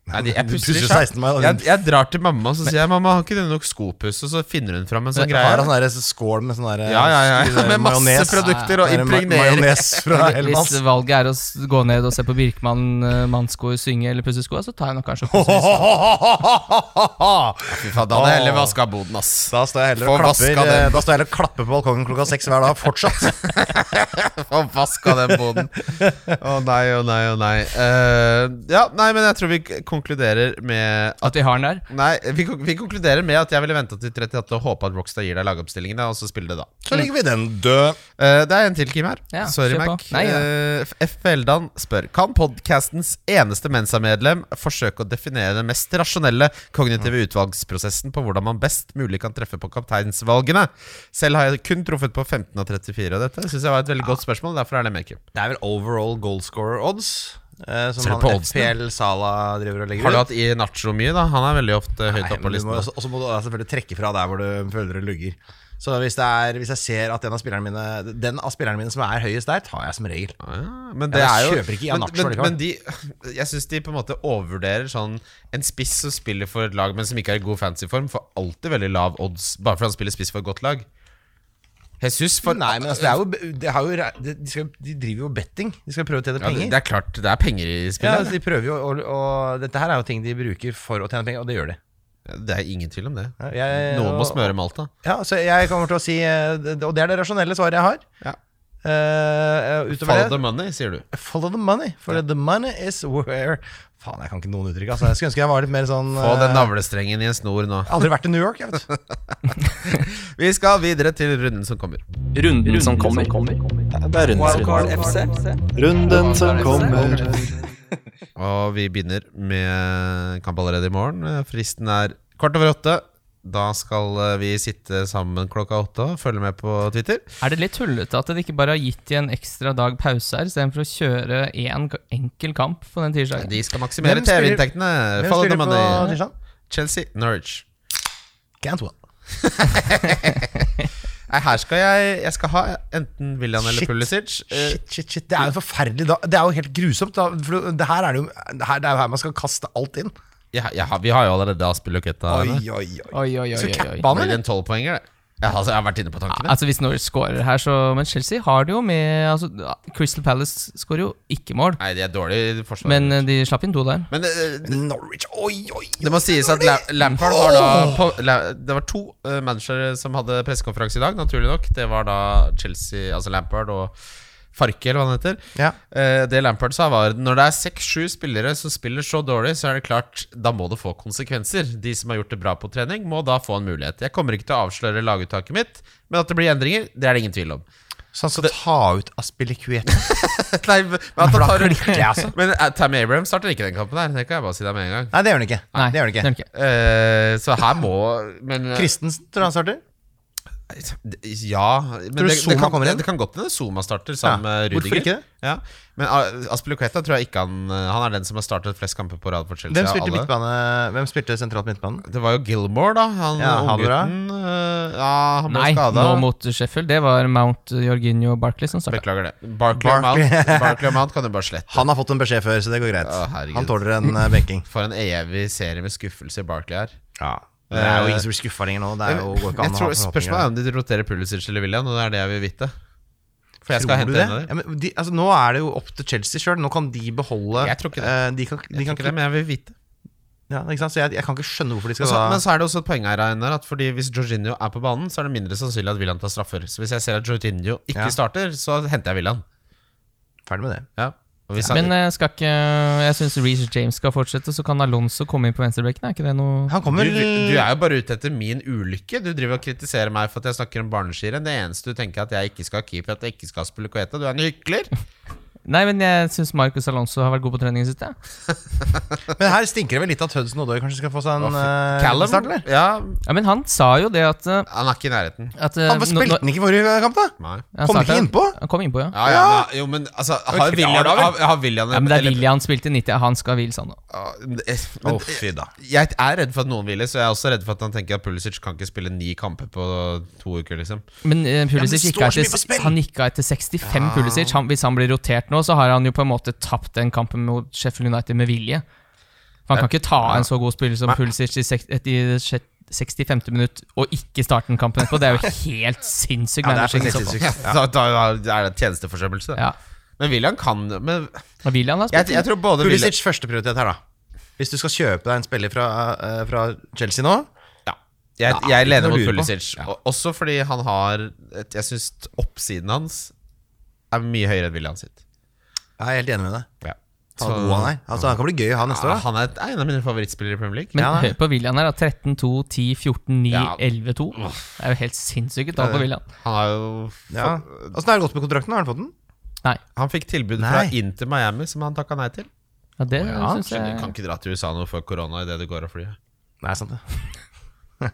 Nei, de, jeg pusser
Pusser
ikke.
16 meg, og
Jeg, jeg drar til mamma og så sier jeg, mamma, har ikke du nok skopuss? Og så finner hun fram en sånn
Har
greie.
han sånn der skål med sånn der
Ja, ja, ja,
sånn der
med masse
majones?
produkter og
Sånn der ma-
impregnerer. *laughs*
Majones fra Helmas.
Hvis
*laughs*
valget er å s- gå ned og se på Birkmann eh, mannsko synge eller pusse skoa, så tar jeg nok kanskje pusse
Fy
sånn-
faen, da hadde jeg heller vaska boden, ass.
Da står jeg heller
Få
og klapper eh,
vaska den.
Da står jeg heller og klapper på balkongen klokka seks hver dag
*laughs*
fortsatt.
Og vaska den boden. Å nei, å nei, å nei. Eh, ja, nei, men jeg tror vi k- konkluderer med
at vi har den der.
Nei, vi, kon- vi konkluderer med at jeg ville venta til 38 og håpa at Rockstar gir deg lagoppstillingene, og så spille det da. Mm.
Så legger vi den død.
Eh, det er en til, Kim her.
Ja,
Sorry,
kjør på.
Mac.
Nei, ja.
Eh, F. Feldan spør Kan podcastens eneste Mensa-medlem forsøke å definere den mest rasjonelle kognitive utvalgsprosessen på hvordan man best mulig kan treffe på kapteinsvalgene? Selv har jeg kun truffet på 15 av 34, og dette syns jeg var et veldig godt spørsmål. Derfor er det med, Kim.
Det er vel overall goalscorer odds. eh,
Ser
som
du
han
på oddsene?
FPL Sala driver og legger
Har du
ut.
hatt i Nacho mye, da? Han er veldig ofte høyt
Nei,
oppe på
men du må
listen.
også-
Og så må du da selvfølgelig trekke fra der hvor du føler det lugger. Så hvis, det er, hvis jeg ser at den av spillerne mine Den av spillerne mine som er høyest der, tar jeg som regel.
Ja, men
Ja,
det er
jeg
jo
kjøper ikke Ian
men,
Nacho
men,
likevel.
men de, jeg syns de på en måte overvurderer sånn En spiss som spiller for et lag, men som ikke er i god fancyform, får alltid veldig lav odds bare fordi han spiller spiss for et godt lag. Jesus for
Nei, men altså, det er jo, det har jo, re- de, de skal, de driver jo betting. De skal prøve å tjene
ja, det,
penger.
det er klart det er penger i
ja,
spillet.
altså, de prøver jo å, å- Dette her er jo ting de bruker for å tjene penger, og det gjør de.
Det er ingen tvil om det.
Jeg-
Noen må smøre Malta.
Ja, så jeg kommer til å si eh, det- Og det er det rasjonelle svaret jeg har.
Ja.
Eh, utover
Follow
det
the money, sier du.
Follow the money, for the money is where Faen, jeg kan ikke noen uttrykk. Altså. Jeg skulle ønske jeg var litt mer sånn
Få
eh,
den navlestrengen i en snor nå.
Aldri vært i New York, jeg vet. *laughs*
Vi skal videre til runden som kommer.
Runden som kommer.
Det er Wildcard FC.
Runden som kommer.
Og vi begynner med kamp allerede i morgen. Eh, Fristen er kvart over åtte. Da skal eh, vi sitte sammen klokka åtte og følge med på Twitter.
Er det litt tullete at de ikke bare har gitt de en ekstra dag pause her, istedenfor å kjøre én ga- enkel kamp på den tirsdagen?
De skal maksimere
Hvem spiller-
TV-inntektene.
Hvem
Follow
spiller
the money.
på tirsdag?
Chelsea, Norwich.
Cantwell.
Nei, her skal jeg Jeg skal ha enten William eller
Shit.
Pulisic. Eh,
Shit, shit, shit. Det er jo forferdelig da. Det er jo helt grusomt. Da. For det her er det jo det her, det er jo her man skal kaste alt inn.
Jeg, jeg, har- vi har jo allerede Aspil og Keta.
Oi,
Det
oi, oi.
Oi, oi, oi, oi, oi.
Skal cappa han,
blir
eller? Ah,
en tolvpoenger, det. Jeg, har- jeg har vært inne på tankene.
Altså Hvis Norwich scorer her, så Men Chelsea har det jo med altså, Crystal Palace skårer jo ikke mål,
Nei, de er dårlige forsvar.
men eh, de slapp inn to der.
Men, eh,
Norwich, oi, oi.
Det må sies at La- Lampard var da på, La, Det var to eh, managere som hadde pressekonferanse i dag, naturlig nok. Det var da Chelsea, altså Lampard og Farke, eller hva han heter.
Ja.
Eh, det Lampard sa, var når det er seks-sju spillere som spiller så dårlig, så er det klart da må det få konsekvenser. De som har gjort det bra på trening, må da få en mulighet. Jeg kommer ikke til å avsløre laguttaket mitt, men at det blir endringer, det er det ingen tvil om.
Så han skal ta ut Aspilicueta.
*laughs*
*laughs*
Nei, men at han
For da
tar *laughs*
klikker jeg, altså.
Men eh, Tammy Abraham starter ikke den kampen der, det kan jeg bare si deg med en gang.
Nei, det gjør han ikke.
Nei,
det gjør han ikke.
ikke.
Eh, så her må men, eh,
Christensen tror jeg han starter.
Det- Ja men
Tror du
det, det,
Zuma
kan,
kommer
det,
inn?
det kan godt hende Zoma starter sammen
Ja,
med
hvorfor
Rudiger.
ikke det?
Ja. Men A- Aspilicueta tror jeg ikke han eh, Han er den som har startet flest kamper på rad for Chelsea. av
Hvem spilte,
alle.
midtbane, hvem spilte sentralt midtbane?
Det var jo Gilmore, da. Han
Ja,
ja,
han ble bra.
unggutten. øh, Ja, han ble
Nei,
skada.
nå mot Sheffield. Det var Mount Jorginho og Barkley som starta.
Beklager det. Barkley og Mount, Barkley og Mount kan du bare slette.
Han har fått en beskjed før, så det går greit.
Å, herregud.
han tåler en eh, benking.
For en evig serie med skuffelse Barkley her.
Det er jo ingen som blir skuffa lenger nå. Det er jo, går ikke
Jeg
an å ha
tror
forhåpninger.
Spørsmålet er om de roterer Pulisic eller William, og det er det jeg vil vite. For jeg skal
Tror
hente
du
en
det?
av dem.
Ja, men de, altså, nå er det jo opp til Chelsea sjøl. Nå kan de beholde
Jeg tror ikke det.
eh, De kan, de
Jeg
kan
tror ikke det, men jeg vil vite.
Ja, ikke sant? Så jeg, jeg kan ikke skjønne hvorfor de skal
Og så,
da
men så er det også et poeng her, Einar, at fordi hvis Jorginho er på banen, så er det mindre sannsynlig at William tar straffer. Så hvis jeg ser at Jorginho ikke
Ja.
starter, så henter jeg William.
Ferdig med det.
Ja. Og hvis
Men
han,
eh, skal ikke Jeg syns Reece James skal fortsette, så kan Alonso komme inn på venstrebekken. Er ikke det noe
Han kommer
du, du, du er jo bare ute etter min ulykke. Du driver og kritiserer meg for at jeg snakker om barneskirenn. Det eneste du tenker er at jeg ikke skal ha keeper, at jeg ikke skal spille koeta. Du er en
*laughs*
hykler.
Nei, men jeg syns Marcus Alonso har vært god på trening i det siste. jeg.
Men her stinker det vel litt at Hudson Odoi kanskje skal få seg en eh,
Callum?
start, eller?
Ja,
Ja, men han sa jo det at, eh,
han er ikke i nærheten.
at eh,
Han var-
nå- nå-
spilte han ikke i forrige kamp, da?
Nei.
han
Kom han ikke
startet-
innpå?
Han kom innpå, ja.
Ja, ja, men, jo, men altså Har
klar,
William,
da, vel?
har, har William
Ja, men det er
eller-
William spilte 90, han skal hvile seg nå.
Ja, men-
Å,
men-
fy da.
Jeg er redd for at noen hviler, så jeg er også redd for at han tenker at Pulisic kan ikke spille ni kamper på to uker, liksom.
Men eh, Pulisic
det
gikk av
står så mye på
etter,
spill!
han gikk av etter 65 Pulisic. Han, hvis han blir rotert nå, så har han jo på en måte tapt den kampen mot Sheffield United med vilje. For Man kan ikke ta en så god spiller som Pulisic i sek- et- i sjett- 65. minutt og ikke starte den kampen etterpå. Det er jo helt sinnssykt
Ja, det er
managing. i så
faktisk
fall.
sinnssykt.
Da, da da er det tjenesteforsømmelse.
sånn. Ja.
Men William kan Men
Og William har
jeg,
spilt
jeg tror både William
Pulisic førsteprioritet her, da. Hvis du skal kjøpe deg en spiller fra, eh, fra Chelsea nå
Ja. Jeg, jeg
noe
lener mot
å lure på.
Pulisic. og- Også fordi han har et, Jeg syns oppsiden hans er mye høyere enn William sitt.
Jeg er helt enig med deg.
Ja.
Han, er god, han, er. altså, han kan bli gøy å ha neste år. da.
han er et- er en av mine favorittspillere i Premier League.
Men hør på William her. da. 13-2, 10-14, 9-11-2.
Ja.
Det er jo helt sinnssyke tall på William.
Han har jo
Ja. Åssen har det gått med kontrakten? Har han fått den?
Nei.
Han fikk tilbud fra
Nei.
Inter Miami, som han takka nei til.
Ja, det synes
Så Du kan
jeg
ikke dra til USA nå for korona idet du går av flyet.
Nei, sant det.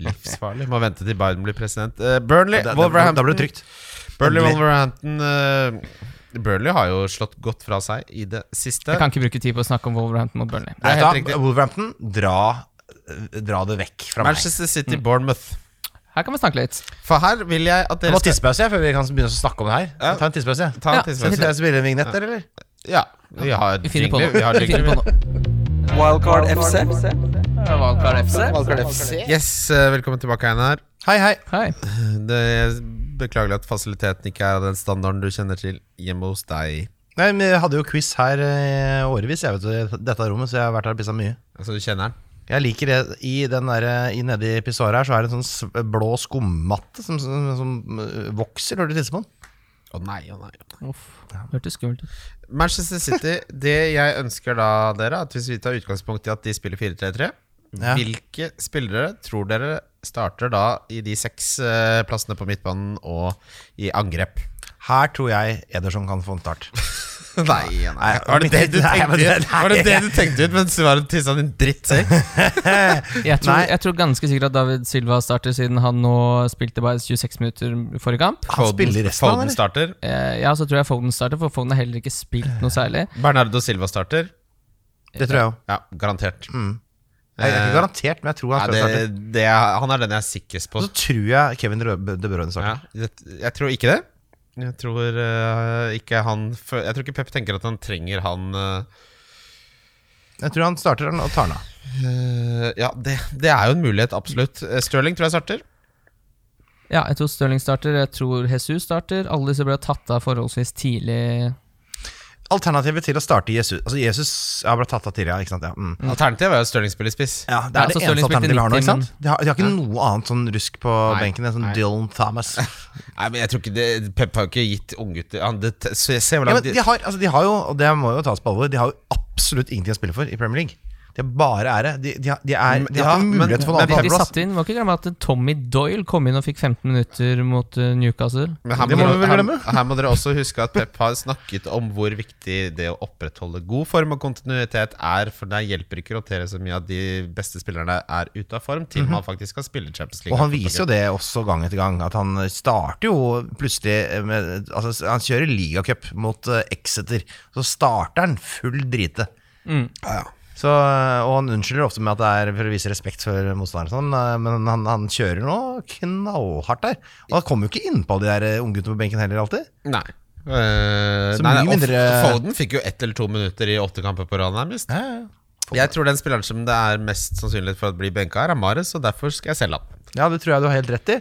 Livsfarlig. Må vente til Biden blir president. Eh, Burnley,
Da, da, da,
Wolverhampton
blir det trygt.
Burnley,
Endelig.
Wolverhampton eh, Burnley har jo slått godt fra seg i det siste.
Jeg kan ikke bruke tid på å snakke om Wolverhampton mot Burnley.
er
Vet
helt
du hva?
riktig.
Wolverhampton, dra, eh, dra det vekk fra meg.
Manchester City,
Mm.
Bournemouth.
Her kan vi snakke litt.
For her vil jeg at
Jeg
dere
må ha tissepause jeg, før vi kan begynne å snakke om det her.
Ja.
Ta en tissepause. jeg.
ta
Ja,
en
Skal
tidspause.
jeg spille en vignett der, eller?
Ja, vi har
Vi finner på noe.
jingle, Vi har
Vi finner
jingle.
på noe.
Wildcard FC.
Valkar FC.
Yes, eh, velkommen tilbake, Einar.
Hei, hei.
Hei.
Det er beklagelig at fasiliteten ikke er av den standarden du kjenner til hjemme hos deg.
Nei, men jeg hadde jo quiz her eh, årevis, jeg vet du, i dette rommet, så jeg har vært her og pissa mye.
Altså, du kjenner den?
Jeg liker det I den der, eh, i nedi pissoaret her Så er det en sånn sv- blå skummatte Som, som, som øh, vokser når du tisser på den
Å nei, å nei, å nei.
Uff. Hørtes skummelt ut.
Manchester City, det jeg ønsker da dere, at hvis vi tar utgangspunkt i at de spiller 4-3-3,
Ja.
hvilke spillere tror dere starter da i de seks eh, plassene på midtbanen og i
*laughs*
angrep?
Her tror jeg Ederson kan få en start
Nei, nei.
Var det det du tenkte ut?
Var det det du tenkte ut mens du var og tissa din drittsekk?
Jeg tror,
Nei.
jeg tror ganske sikkert at David Silva starter, siden han nå spilte bare 26 minutter i forrige kamp.
Han spiller resten av
Foden
den, eller?
starter.
Eh, Ja, så tror jeg Foden starter, for Foden har heller ikke spilt noe særlig.
Bernardo Silva starter.
Det tror jeg jo
Ja, garantert.
Mm. Jeg er ikke garantert, men jeg tror
Eh, Ja,
han
det,
skal starte
det er, han er den jeg er sikrest på.
Og så tror jeg Kevin Rø- De
Ja,
Bruyne starter
jeg, jeg tror ikke det. Jeg tror eh, ikke han fø- Jeg tror ikke Pep tenker at han trenger han eh,
Jeg tror han starter den og tar den av
eh, Ja, det, det er jo en mulighet, absolutt. Eh, Sterling tror jeg starter.
Ja, jeg tror Stirling starter, jeg tror Jesus starter. Alle disse ble tatt av forholdsvis tidlig.
Alternativet til å starte Jesus Altså Jesus har blitt tatt av tidligere, ikke sant? Ja, mm.
Alternativet er jo at Sterling spiller spiss.
ja
Ja, så
det er det
Sterling
eneste
spilte
alternativet de har nå,
90,
ikke sant? De har, de har ikke noe annet sånn rusk på
Nei,
benken enn sånn
nei.
Dylan Thomas
Nei, men jeg tror ikke det Pep har jo ikke gitt unggutter han- det- Se se hvor
Ja,
langt
men de
de-
har, altså, de har jo, og det må jo tas på alvor, de har jo absolutt ingenting å spille for i Premier League. De er bare ære. De, de, har- de, er, de
Ja,
har ikke
men-
mulighet for
men
en annen
De
femteplass.
satte inn, må ikke glemme at Tommy Doyle kom inn og fikk 15 minutter mot eh, Newcastle.
Men her
Det
må,
må vi
dere,
vel
her,
glemme.
her må dere også huske at Pep har snakket om hvor viktig det å opprettholde god form og kontinuitet er. For det hjelper ikke å rotere så mye at de beste spillerne er ute av form til man faktisk skal spille Champions League.
Mhm. Og han viser jo det også gang etter gang, at han starter jo plutselig med Altså, han kjører ligacup mot eh, Exeter, så starter han full drite. Så, eh, og han unnskylder ofte med at det er for å vise respekt for motstanderen, og sånn, eh, men han, han kjører nå knallhardt der. Og han kommer jo ikke innpå de der eh, unggutta på benken heller, alltid.
Nei. Eh,
Så
nei,
mye
nei, og
mindre-
Foden fikk jo ett eller to minutter i åtte kamper på rad, nærmest. Jeg tror den spilleren som det er mest sannsynlighet for at blir benka, er Amares, og derfor skal jeg selge han.
Ja, det tror jeg du har helt rett i.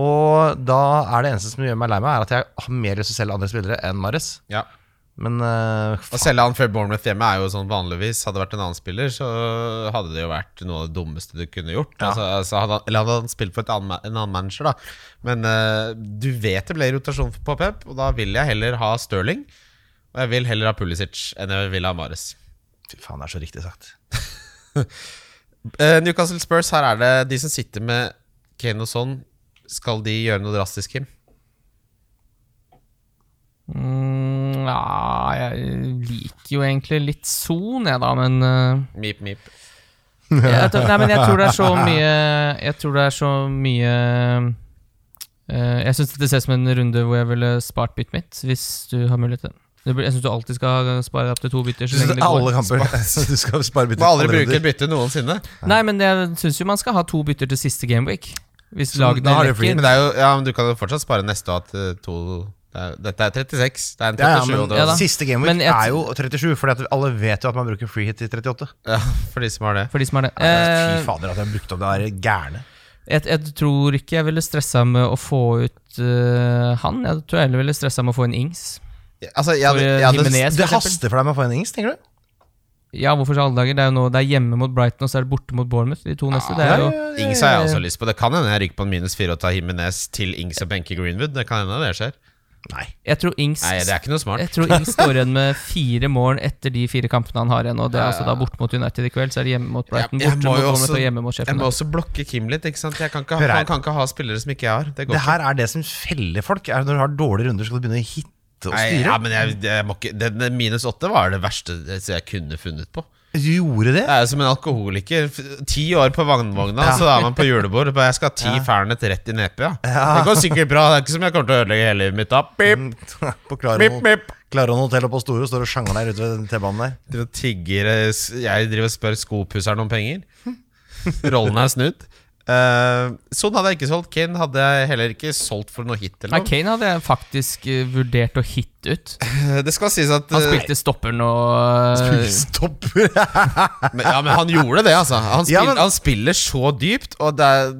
Og da er det eneste som gjør meg lei meg, er at jeg har mer lyst til å selge andre spillere enn Mares.
Ja.
Men øh,
Å
faen,
selge han før Bournemouth hjemme er jo sånn vanligvis Hadde det vært en annen spiller, så hadde det jo vært noe av det dummeste du kunne gjort. Altså, altså hadde han, eller hadde han spilt for et annen, ma- en annen manager, da. Men eh, du vet det ble rotasjon på Pep, og da vil jeg heller ha Stirling. Og jeg vil heller ha Pulisic enn jeg vil ha Mares.
fy faen, det er så riktig sagt.
Eh, Newcastle Spurs, her er det de som sitter med Kane og sånn. Skal de gjøre noe drastisk, Kim?
Mm, ja, jeg liker jo egentlig litt Son, jeg da, men eh,
Mip, mip.
jeg, tror- nei, men jeg tror det er så mye Jeg tror det er så mye eh, Jeg syns det ser ut som en runde hvor jeg ville spart byttet mitt, hvis du har mulighet til det. det. blir- Jeg syns du alltid skal spare opp til to bytter. Så lenge det går.
Alle kamper. *laughs* Altså, Du skal spare bytte.
Må aldri bruke et bytte noensinne.
Nei, men jeg syns jo man skal ha to bytter til siste gameweek. Hvis lagene
Da har du
lekker.
free, men, det er jo, ja, men du kan jo fortsatt spare neste og ha til eh, to Det er, dette er 36. Det er en
Ja,
37.
ja, men
og det-
Ja da.
Siste game
Men
week
jeg-
er jo 37, for alle vet jo at man bruker free hit i 38.
ja, for de som har det.
For de som har det.
Fy
Eh,
fader, at jeg brukte opp det der gærne.
jeg, jeg tror ikke jeg ville stressa med å få ut eh, han. Jeg tror jeg heller ville stressa med å få inn Ings.
Altså, jeg,
For,
hadde-
eh,
jeg hadde
Jimenez, for
Det
eksempel.
haster for deg med å få en innings, tenker du?
Ja, hvorfor så alle dager? Det er jo nå det er hjemme mot Brighton, og så er det borte mot Bournemouth. De to neste. Det er jo
Ings har jeg også lyst på. Det kan hende jeg ryker på en minus 4 og tar Himinez til Ings og Benke Greenwood. Det kan hende det skjer.
Jeg tror Ings
Nei, det er ikke noe smart.
*laughs* Jeg tror Ings står igjen med fire mål etter de fire kampene han har igjen. Og det er altså da borte mot United i kveld, så er det hjemme mot Brighton.
Jeg- jeg
Borte
må
mot
jo
Bournemouth
også-
og hjemme mot
Jeg må
Sheffield.
også blokke Kim litt. ikke sant? Jeg kan ikke
Hør
ha,
her.
han kan ikke ha spillere som ikke jeg har. Det går
Det
ikke.
her er det som feller folk. Er når du har dårlige runder, skal du begynne å hitte og
Nei,
styre.
ja, men jeg, jeg må ikke, den den minus 8 var det verste jeg kunne funnet på.
Du gjorde det?
Det er jo som en alkoholiker. F- Ti år på vannvogna, så er man på julebord. Bare jeg skal ha ti Fernet rett i nepe, ja. Det går sikkert bra. Det er ikke som jeg kommer til å ødelegge hele livet mitt da.
Mm.
Pip,
*laughs* På Claron,
pip, pip.
Claron hotell og på Store står og sjanger der ute ved den T-banen der.
Driver og tigger eh, s- Jeg driver og spør skopusseren om penger. Rollen er snudd. Eh, Son hadde jeg ikke solgt. Kane hadde jeg heller ikke solgt for noe hit.
Nei,
Eller noe.
Kane hadde jeg faktisk eh, vurdert å
*laughs*
hitte ut.
Eh, Det skal sies at
Han
eh,
spilte stopper nå. eh,
Stopper!
men, Ja, men han gjorde det, altså. Han, spil,
Ja, men-
han spiller så dypt, og det er,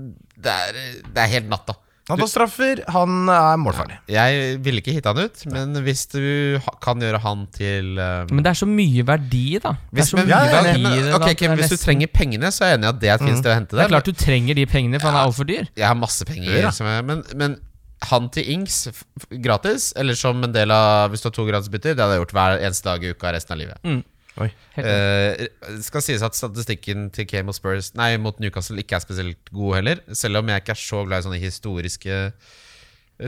det er, det er helt natta.
Han tar straffer, han er målfarlig.
Jeg ville ikke hitte han ut, men hvis du ha- kan gjøre han til eh,
Men det er så mye verdi, da. Det er
hvis,
så
men,
mye
ja, ja,
verdi i
men,
det, da.
ok,
Det er
Kim, hvis du
nesten-
trenger pengene, så er jeg enig i at det er et fint sted å hente
Det er
det.
klart du trenger de pengene, for han er altfor dyr.
Jeg har masse penger,
Gjør det.
som jeg, men, men han til Ings f- f- gratis, eller som en del av hvis du har to gratisbytter, det hadde jeg gjort hver eneste dag i uka resten av livet.
Helt enig.
Eh, det skal sies at statistikken til Kane mot Spurs Nei, mot Newcastle ikke er spesielt god heller. Selv om jeg ikke er så glad i sånne historiske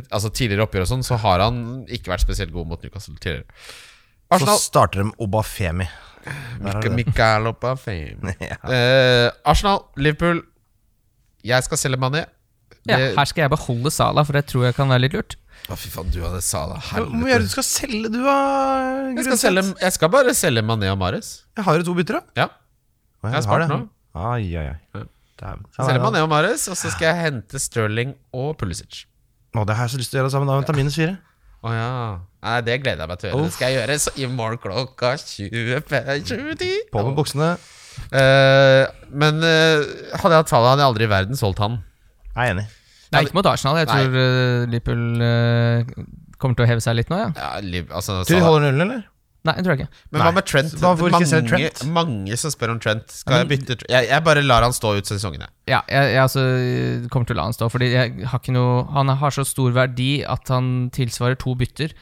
Altså tidligere oppgjør og sånn, så har han ikke vært spesielt god mot Newcastle tidligere.
Så
Arsenal
starter de Obafemi. Der har du
Mika-
det.
Mikael Oppa *laughs* fame.
Ja.
Eh, Arsenal, Liverpool Jeg skal selge Mané.
Ja,
Det-
her skal jeg beholde Sala, for jeg tror jeg kan være litt lurt.
Å, fy faen, du hadde sa det.
Hva må vi gjøre? Du skal selge, du, da?
Jeg skal, selge, jeg skal bare selge Mané og Mares.
Jeg har jo to bytter, da.
Ja.
Jeg,
har spart nå.
Ai, ai, ai. Dæven.
Selge Mané og Mares, og så skal jeg hente Sterling og Pulisic.
Å, det har jeg så lyst til å gjøre sammen. Da tar minus fire.
Å ja. Nei, det gleder jeg meg til å gjøre. Det skal jeg gjøre så i morgen klokka 20.10.
På med buksene.
men eh, hadde jeg hatt tallet, hadde jeg aldri i verden solgt han.
Jeg er enig.
Nei, ikke mot Arsenal. Jeg
Nei.
tror eh, Liverpool eh, kommer til å heve seg litt nå, ja.
Ja, liv, altså,
Tror vi
Salah.
holder nullen, eller?
Nei, jeg tror jeg ikke.
men hva med Trent?
Hva, hvorfor ikke selge
mange,
Trent?
mange som spør om Trent. Skal jeg bytte Tr- jeg, jeg bare lar han stå ut sesongen, jeg.
Ja, jeg, jeg altså, eh, kommer til å la han stå. Fordi jeg har ikke noe, han har så stor verdi at han tilsvarer to bytter.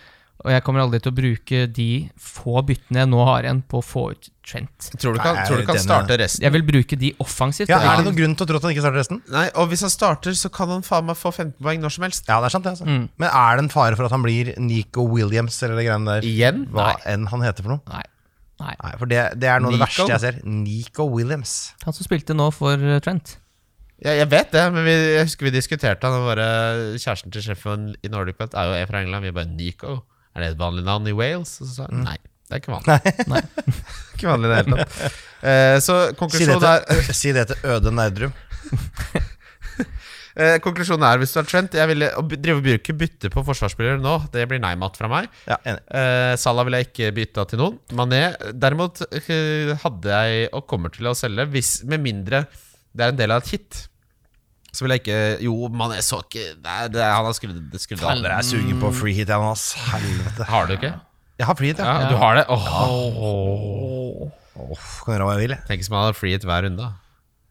Og jeg kommer aldri til å bruke de få byttene jeg nå har igjen, på å få ut Trent.
Tror du ikke han-
Nei,
tror du ikke han
denne-
starte resten?
Jeg vil bruke de offensivt.
Ja,
og
Er det
han-
noen grunn til å tro at han ikke starter resten?
Nei, og hvis han starter, så kan han faen meg få 15 poeng når som helst.
Ja, det er sant, det. altså Men er det en fare for at han blir Nico Williams eller det greiene der?
Igjen?
Hva enn han heter for noe?
Nei. Nei.
Nei, for det, det er noe av det
Nico?
verste jeg ser. Nico Williams.
Han som spilte nå for eh, Trent.
Ja, jeg vet det, men vi, jeg husker vi diskuterte han. og bare Kjæresten til sjefen i Nordic Pet er jo en fra England. Vi bare Nico. Er det et vanlig navn i Wales? Og så sa
Mm.
han nei. Det er ikke vanlig.
Nei.
*laughs* ikke vanlig i det hele tatt. Eh, så
Si det,
konklusjonen er,
til, *laughs* si det til Øde Nerdrum.
eh, konklusjonen er hvis du har Trent Jeg ville å by- drive og bruke bytte på forsvarsspillere nå. Det blir nei-mat fra meg.
Ja, enig.
Eh, Salah ville jeg ikke bytta til noen. Mané derimot eh, hadde jeg og kommer til å selge, hvis, med mindre det er en del av et hit. Så vil jeg ikke Jo, Mané så ikke Nei, det, han har skrudd, det skrudd av.
Faller jeg er sugen på free hit, jeg nå, ass. Helvete.
Har du ikke?
Jeg har free hit,
Ja,
ja.
Du har det? Åh,
Uff, kan gjøre hva jeg vil. jeg.
Tenk som han hadde free hit hver runde. da.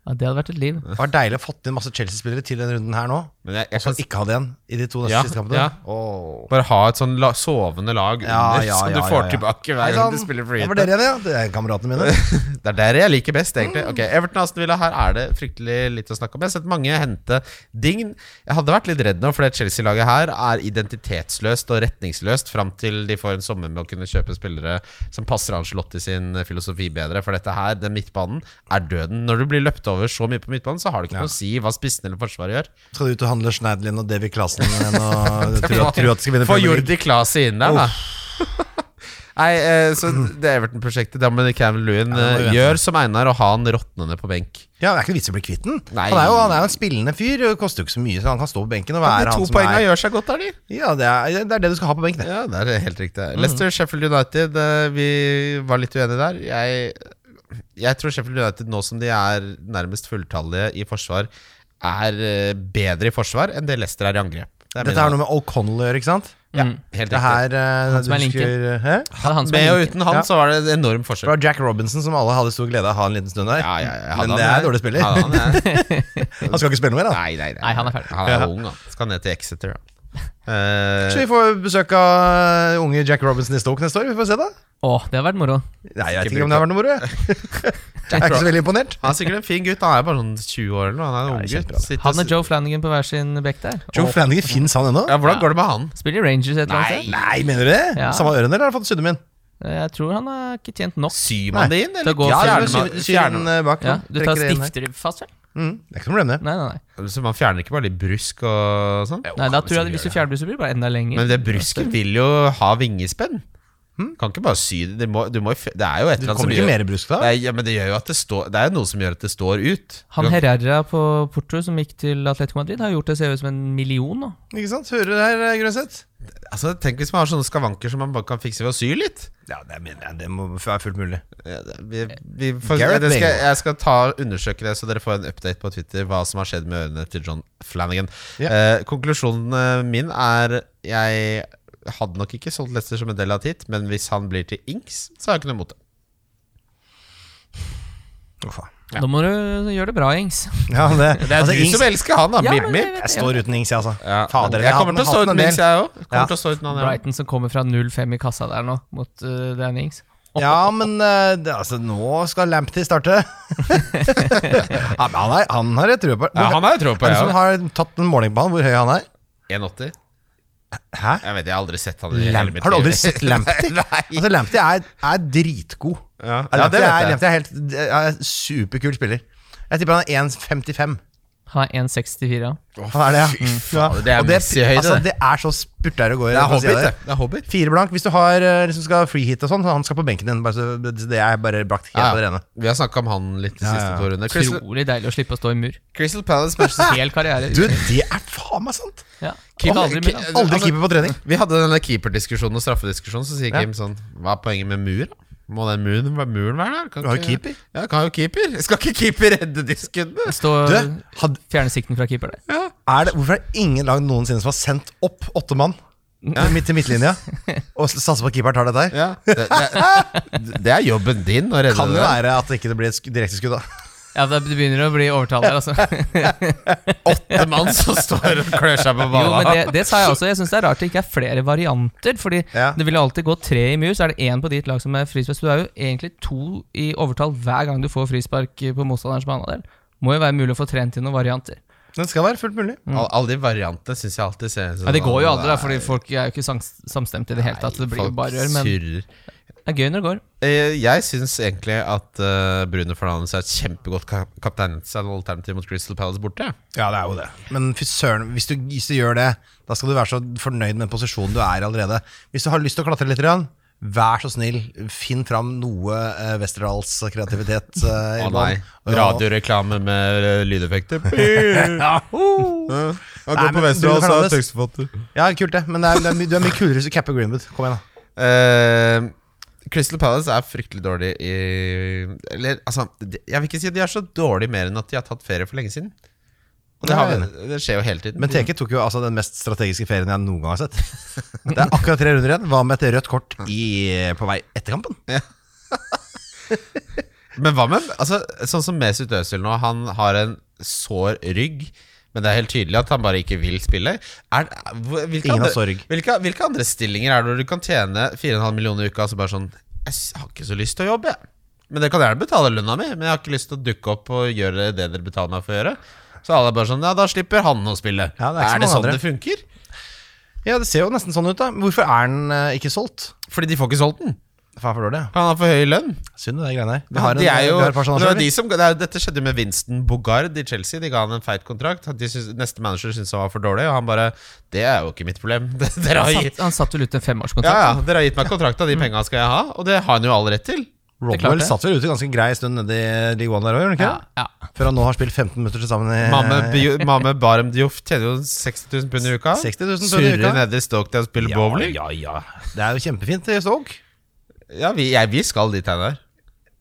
Ja, det hadde vært et liv.
Det var deilig å ha fått inn masse Chelsea-spillere til denne runden her nå.
Men jeg, jeg
Som
kan
ikke hadde igjen i de to neste
Ja,
siste kampene.
ja.
Åh.
bare ha et sånn la, sovende lag under
Ja, ja,
som du
ja,
får
ja, ja.
tilbake hver gang du spiller free
Det
hit.
var dere igjen, sånn, ja. Det er kameratene mine.
Det er der jeg liker best, egentlig. Ok, Everton Aston Villa, her er det fryktelig litt å snakke om. Jeg har sett mange hente Dign. Jeg hadde vært litt redd nå, for det Chelsea-laget her er identitetsløst og retningsløst fram til de får en sommer med å kunne kjøpe spillere som passer Ancelotti sin filosofi bedre. For dette her, den midtbanen, er døden. Når du blir løpt over så mye på midtbanen, så har det ikke noe å si hva spissen eller forsvaret gjør.
Skal du ut og handle Schneidlin og Davy Klassen
*laughs*
igjen og tro at, tro at de skal vinne
Få
Premier League?
Jordi Klasi inn der, da. *laughs* Nei, eh, så det Everton-prosjektet, da må Cameron Lewin
Ja, det må vi
eh,
vente
gjør som Einar og ha han råtnende på benk.
Ja, Det er ikke noe vits i å bli kvitt den.
Nei.
Han er jo han er jo en spillende fyr. og Koster jo ikke så mye, så han kan stå på benken og være
de
han
to
som
poengene
er
gjør seg godt der, de.
Ja, det er, det er det du skal ha på benken. det.
Ja, det er helt riktig.
Mm.
Leicester, Sheffield United, eh, vi var litt uenige der. Jeg, jeg tror Sheffield United, nå som de er nærmest fulltallige i forsvar, er eh, bedre i forsvar enn det Leicester er i angrep. Det
Dette har noe med O'Connell å gjøre, ikke sant?
Ja, helt riktig.
Det her eh,
Han som er
du
linken.
husker, hæ?
Det er han som er
Med og
linken.
uten han
Ja.
så var det en enorm
Det
forskjell.
var Jack Robinson som alle hadde stor glede av å ha en liten stund der.
Ja, ja, ja,
Men
han
det er
er-
en dårlig spiller.
Ja,
Han,
han er-
*laughs* skal ikke spille noe mer, da.
Nei, nei, nei.
Nei, han er ferdig.
Han er ung, han. Skal ned til Exeter,
*laughs*
han. Eh,
Så vi får besøk av eh, unge Jack Robinson i Stoke neste år. Vi får se, da.
Å, det har vært moro.
Nei, jeg vet ikke om det har vært noe moro. Jeg *laughs* Jeg er ikke så veldig imponert.
han er sikkert en fin gutt. Han er bare sånn 20 år eller noe. Han er en
Ja,
ung
kjempebra.
gutt. Sitter-
Han og Joe Flanagan på hver sin bekk der.
Joe Flanagan, fins han ennå?
Ja, hvordan går det med han?
Spiller i Rangers et eller annet sted.
Nei, mener du det?
Ja.
Samme øren, eller har han fått sydde min?
Jeg tror han har ikke tjent nok.
Syr man
Nei.
det inn,
Til
eller?
å gå
Ja,
til-
fjerner
Syr
man-
den- syr
fjerner-
den eh, bak.
Ja, du tar
Trekker det inn her.
stifter fast, vel?
Mm, det er ikke noe problem, det.
Nei, nei, nei.
Så Altså, man fjerner ikke bare litt brusk og sånn?
nei da tror jeg at Hvis du fjernblusser, blir det bare enda lenger.
Men det brusket vil jo ha vingespenn. Kan ikke bare sy det. Det, må, du må, jo fj- det er jo et
Det
eller annet
Hm? kommer ikke mer brusk da?
Nei, ja, men det gjør jo at det står Det er jo noe som gjør at det står ut.
Han
Du kan-
Herrera på Porto, som gikk til Atletico Madrid, har gjort det se ut som en million nå.
Ikke sant? Hører du det her, eh, Grønseth?
altså, tenk hvis man har sånne skavanker som man bare kan fikse ved å sy litt.
Ja, det mener jeg. Det må være fullt mulig.
Ja, det- Vi, vi får,
Gareth
det skal,
Bale.
jeg skal ta, undersøke det, så dere får en update på Twitter hva som har skjedd med ørene til John Flanagan.
Ja.
Eh, konklusjonen eh, min er Jeg hadde nok ikke solgt Lester som en del av tit, men hvis han blir til Inks, så har jeg ikke noe imot det.
Å, faen.
Da må du gjøre det bra, Ings.
Ja, det,
Det er
altså,
du
Ings-
som elsker han, da.
Ja,
Mip,
men
mip.
det-
Jeg står uten Ings, jeg, altså.
Ja,
Fader,
jeg
har
kommer til å
hatt
stå
den
uten
en
Mix,
del.
jeg òg. Kommer
Ja.
til å stå uten han, jeg
Brighton som kommer fra 0-5 i kassa der nå, mot uh, Dan Ings.
Ja, men eh, det, altså, nå skal Lamptey starte. *laughs* ja, men han, er, han har jeg trua på.
Ja, han har jeg tro på,
Er det
jeg
som
òg.
har tatt en måling på han, hvor høy han er?
1,80.
Hæ?
Jeg vet, jeg har aldri sett han i hele
Lamp,
mitt
har du aldri
liv.
sett Lamptey?
*laughs* Nei.
altså, Lamptey er, er dritgod.
Ja,
Lamptey
ja, det
er,
vet jeg.
Lamptey er helt er en superkul spiller. Jeg tipper han er 1,55.
Han er 1,64. ja.
Han er det, ja. Mm. ja.
det er
Og
Messi-høyde,
altså,
det.
det er så spurter det går.
Det er
på siden
Hobbit,
der.
det. det er Hobbit.
Fire blank hvis du har, eh, liksom skal free hit og sånn. så Han skal på benken din. Bare, så det er bare brakt helt
Ja,
på det
ja.
rene.
Vi har snakka om han litt de
Ja, ja,
siste
ja.
to rundene. Crystal,
Utrolig deilig å slippe å stå i mur.
Crystal Palace
*laughs*
Manchester
Hel karriere.
Du, det er faen meg sant!
Ja. Keeper aldri mur, da.
Aldri keeper på trening.
Vi hadde denne keeperdiskusjonen og straffediskusjonen, så sier
Ja.
Kim sånn Hva er poenget med mur? da? Må den muren, muren være der? Kan
Du har jo
ikke-
keeper.
Ja, kan jo keeper. Skal ikke keeper redde de skuddene?
Stå,
Du, had,
fjerne sikten fra keeper der.
er det, hvorfor er det ingen lag noensinne som har sendt opp åtte mann midt til *laughs* midtlinja og s- satser på at keeperen tar dette her?
Ja, det, det, det er jobben din å redde
Kan det
det. der.
være at det ikke blir et sk- direkteskudd, da?
Ja, det begynner å bli overtall der, altså.
Åtte mann som står og klør seg på
Jo,
balla.
men det, det sa jeg også. Jeg syns det er rart det ikke er flere varianter. Fordi
Ja.
det vil jo alltid gå tre i mur, så er det én på ditt lag som er frispark. Så du er jo egentlig to i overtall hver gang du får frispark på motstanderens banehalvdel. Må jo være mulig å få trent inn noen varianter.
Det skal være fullt mulig.
Al- Alle de variantene syns jeg alltid ser sånn
Mm. Ja, Det går jo aldri, da,
Nei,
fordi folk er jo ikke sangs- samstemte i det hele tatt. så Det blir jo
folk
bare rør, men
surrer.
det er gøy når det går.
Eh, Jeg syns egentlig at eh, Bruno Fernandes er et kjempegodt kap kapteinsalternativ mot Crystal Palace borte.
Ja, det er jo det. Men fy søren, hvis du, hvis du gjør det, da skal du være så fornøyd med den posisjonen du er i allerede. Hvis du har lyst til å klatre litt, grann, vær så snill, finn fram noe eh, Westerdals kreativitet. Eh, i
Å nei.
bånn. Og-
Radioreklame med eh, *laughs* lydeffekter. Ja, Han
Nei, men Bruno Fernandes-
tekstforfatter.
Ja, kult det, men det er, det er, my- du er mye kulere hvis du capper Greenwood. Kom igjen, da.
Eh, Crystal Palace er fryktelig dårlig i Eller altså, de- jeg vil ikke si at de er så dårlig mer enn at de har tatt ferie for lenge siden. Og det,
Ja,
har,
jeg er
vi- det skjer jo hele tiden.
Men Teke tok jo altså den mest strategiske ferien jeg noen gang har sett. *laughs* Det er akkurat tre runder igjen. Hva med et rødt kort i, eh, på vei etter kampen?
Men hva med altså, Sånn som Mesut Özil nå, han har en sår rygg. Men det er helt tydelig at han bare ikke vil spille. Er, hvor- hvilke,
Ingen har
andre,
sår rygg.
hvilke, hvilke andre stillinger er det hvor du kan tjene 4,5 millioner i uka så bare sånn Jeg s- har ikke så lyst til å jobbe, jeg. Men det kan gjerne betale lønna mi, men jeg har ikke lyst til å dukke opp og gjøre det dere betaler meg for å gjøre. Så alle er bare sånn Ja, da slipper han å spille.
Ja, det
er
er
det
ikke så mange
sånn
andre.
det funker?
Ja, det ser jo nesten sånn ut, da. Hvorfor er den eh, ikke solgt?
Fordi de får ikke solgt den.
Faen for dårlig. ja.
Han har for høy lønn.
Synd det, de greiene her. Vi
Ja,
har en-
de er jo,
vi har et par sånne
det var de
selv, vi.
som, det er, dette skjedde med Winston Bogard i Chelsea. De ga han en feit kontrakt. De syntes- neste manager syntes han var for dårlig, og han bare Det er jo ikke mitt problem. *laughs* Dere har,
Han
gitt,
satt, han satt vel ut en
ja,
femårskontrakt.
ja, dere har gitt meg kontrakta, de penga skal jeg ha. Og det har han jo all rett til.
Rodwell
klarte.
satt vel ute ganske grei stund nede i League One der òg, gjorde han
Ja,
ikke?
ja.
det? Før han nå har spilt 15 minutter til sammen i
Mame, Bio- Mame Barem Dioff tjener jo 60 000 pund i uka.
60 000 pund i uka.
Surrer nede i Stoke til å spille
Ja,
bowling.
ja, ja. Det er jo kjempefint i Stoke.
Ja, vi, jeg, vi skal dit hen der.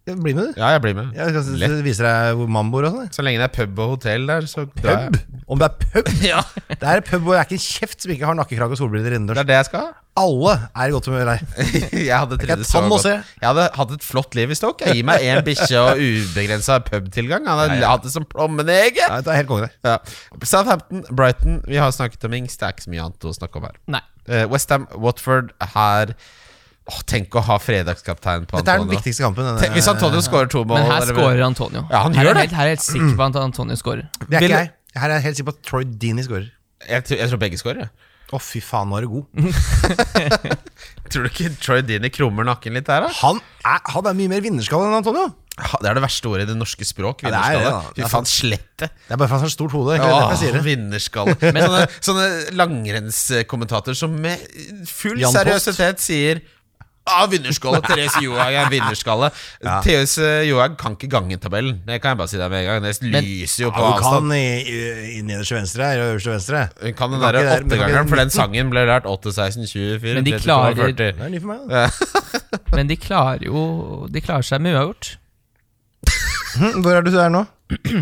Bli med, du.
Ja, jeg blir med.
Jeg skal
Lett.
s- vise deg hvor mannen bor og sånn. jeg.
Så lenge det er pub og hotell der, så drar
Pub?
jeg.
Om det er
*laughs*
pub?
Ja.
Det er pub hvor det er ikke en kjeft som ikke har nakkekrage og solbriller
Det
innendørs.
er det jeg skal.
Alle er i godt humør her.
*laughs* jeg hadde
Det er ikke
trivdes så
tann å
godt.
se.
Jeg hadde hatt et flott liv i Stoke. Jeg gir meg én bikkje og ubegrensa pubtilgang. Han hadde hatt det som plommenege.
Ja, det er helt konge, det.
Ja. Southampton, Brighton, vi har snakket om Ings. Det er ikke så mye annet å snakke om her.
Nei.
Eh, West Ham, Watford her Åh, Tenk å ha fredagskaptein på
Dette er den
Antonio.
viktigste kampen. denne-
Tenk, hvis Antonio skårer to mål
Men her
eller-
scorer Antonio.
Ja, han
her
gjør
er
det.
Helt, her er jeg helt sikker på at Antonio scorer.
Det er
Vil-
ikke jeg. Her er jeg helt sikker på at Troy Dini scorer.
jeg, tror- jeg tror begge scorer. jeg.
Å, fy faen, nå er du god.
Tror du ikke Troy Dini krummer nakken litt der, da?
Han er, han er mye mer vinnerskalle enn Antonio.
Ha, Det er det verste ordet i det norske språk.
Ja, det er det,
Vinnerskalle.
da. Det
Fy
er
faen, slette.
Det er bare for han har stort hode. egentlig,
Åh,
derfor jeg sier det.
vinnerskalle. sånne, sånne langrennskommentator som med full
Jan Post.
seriøsitet sier Ah, vinnerskalle! Therese Johaug er vinnerskalle. Therese Johaug kan ikke gangetabellen. Det kan jeg bare si deg med en gang. Det lyser jo på
Ja, du
avstand.
kan i, i, i nederste venstre eller øverste venstre.
Hun kan den
Du kan
derre
ikke det, men du kan ikke
åttegangeren, for
den
den sangen ble lært 8, 16, 24, 32,
Men de
32,
klarer-
40.
Det er ny for meg, da.
Men de klarer jo De klarer seg med uavgjort.
Hm, Hvor er du der nå?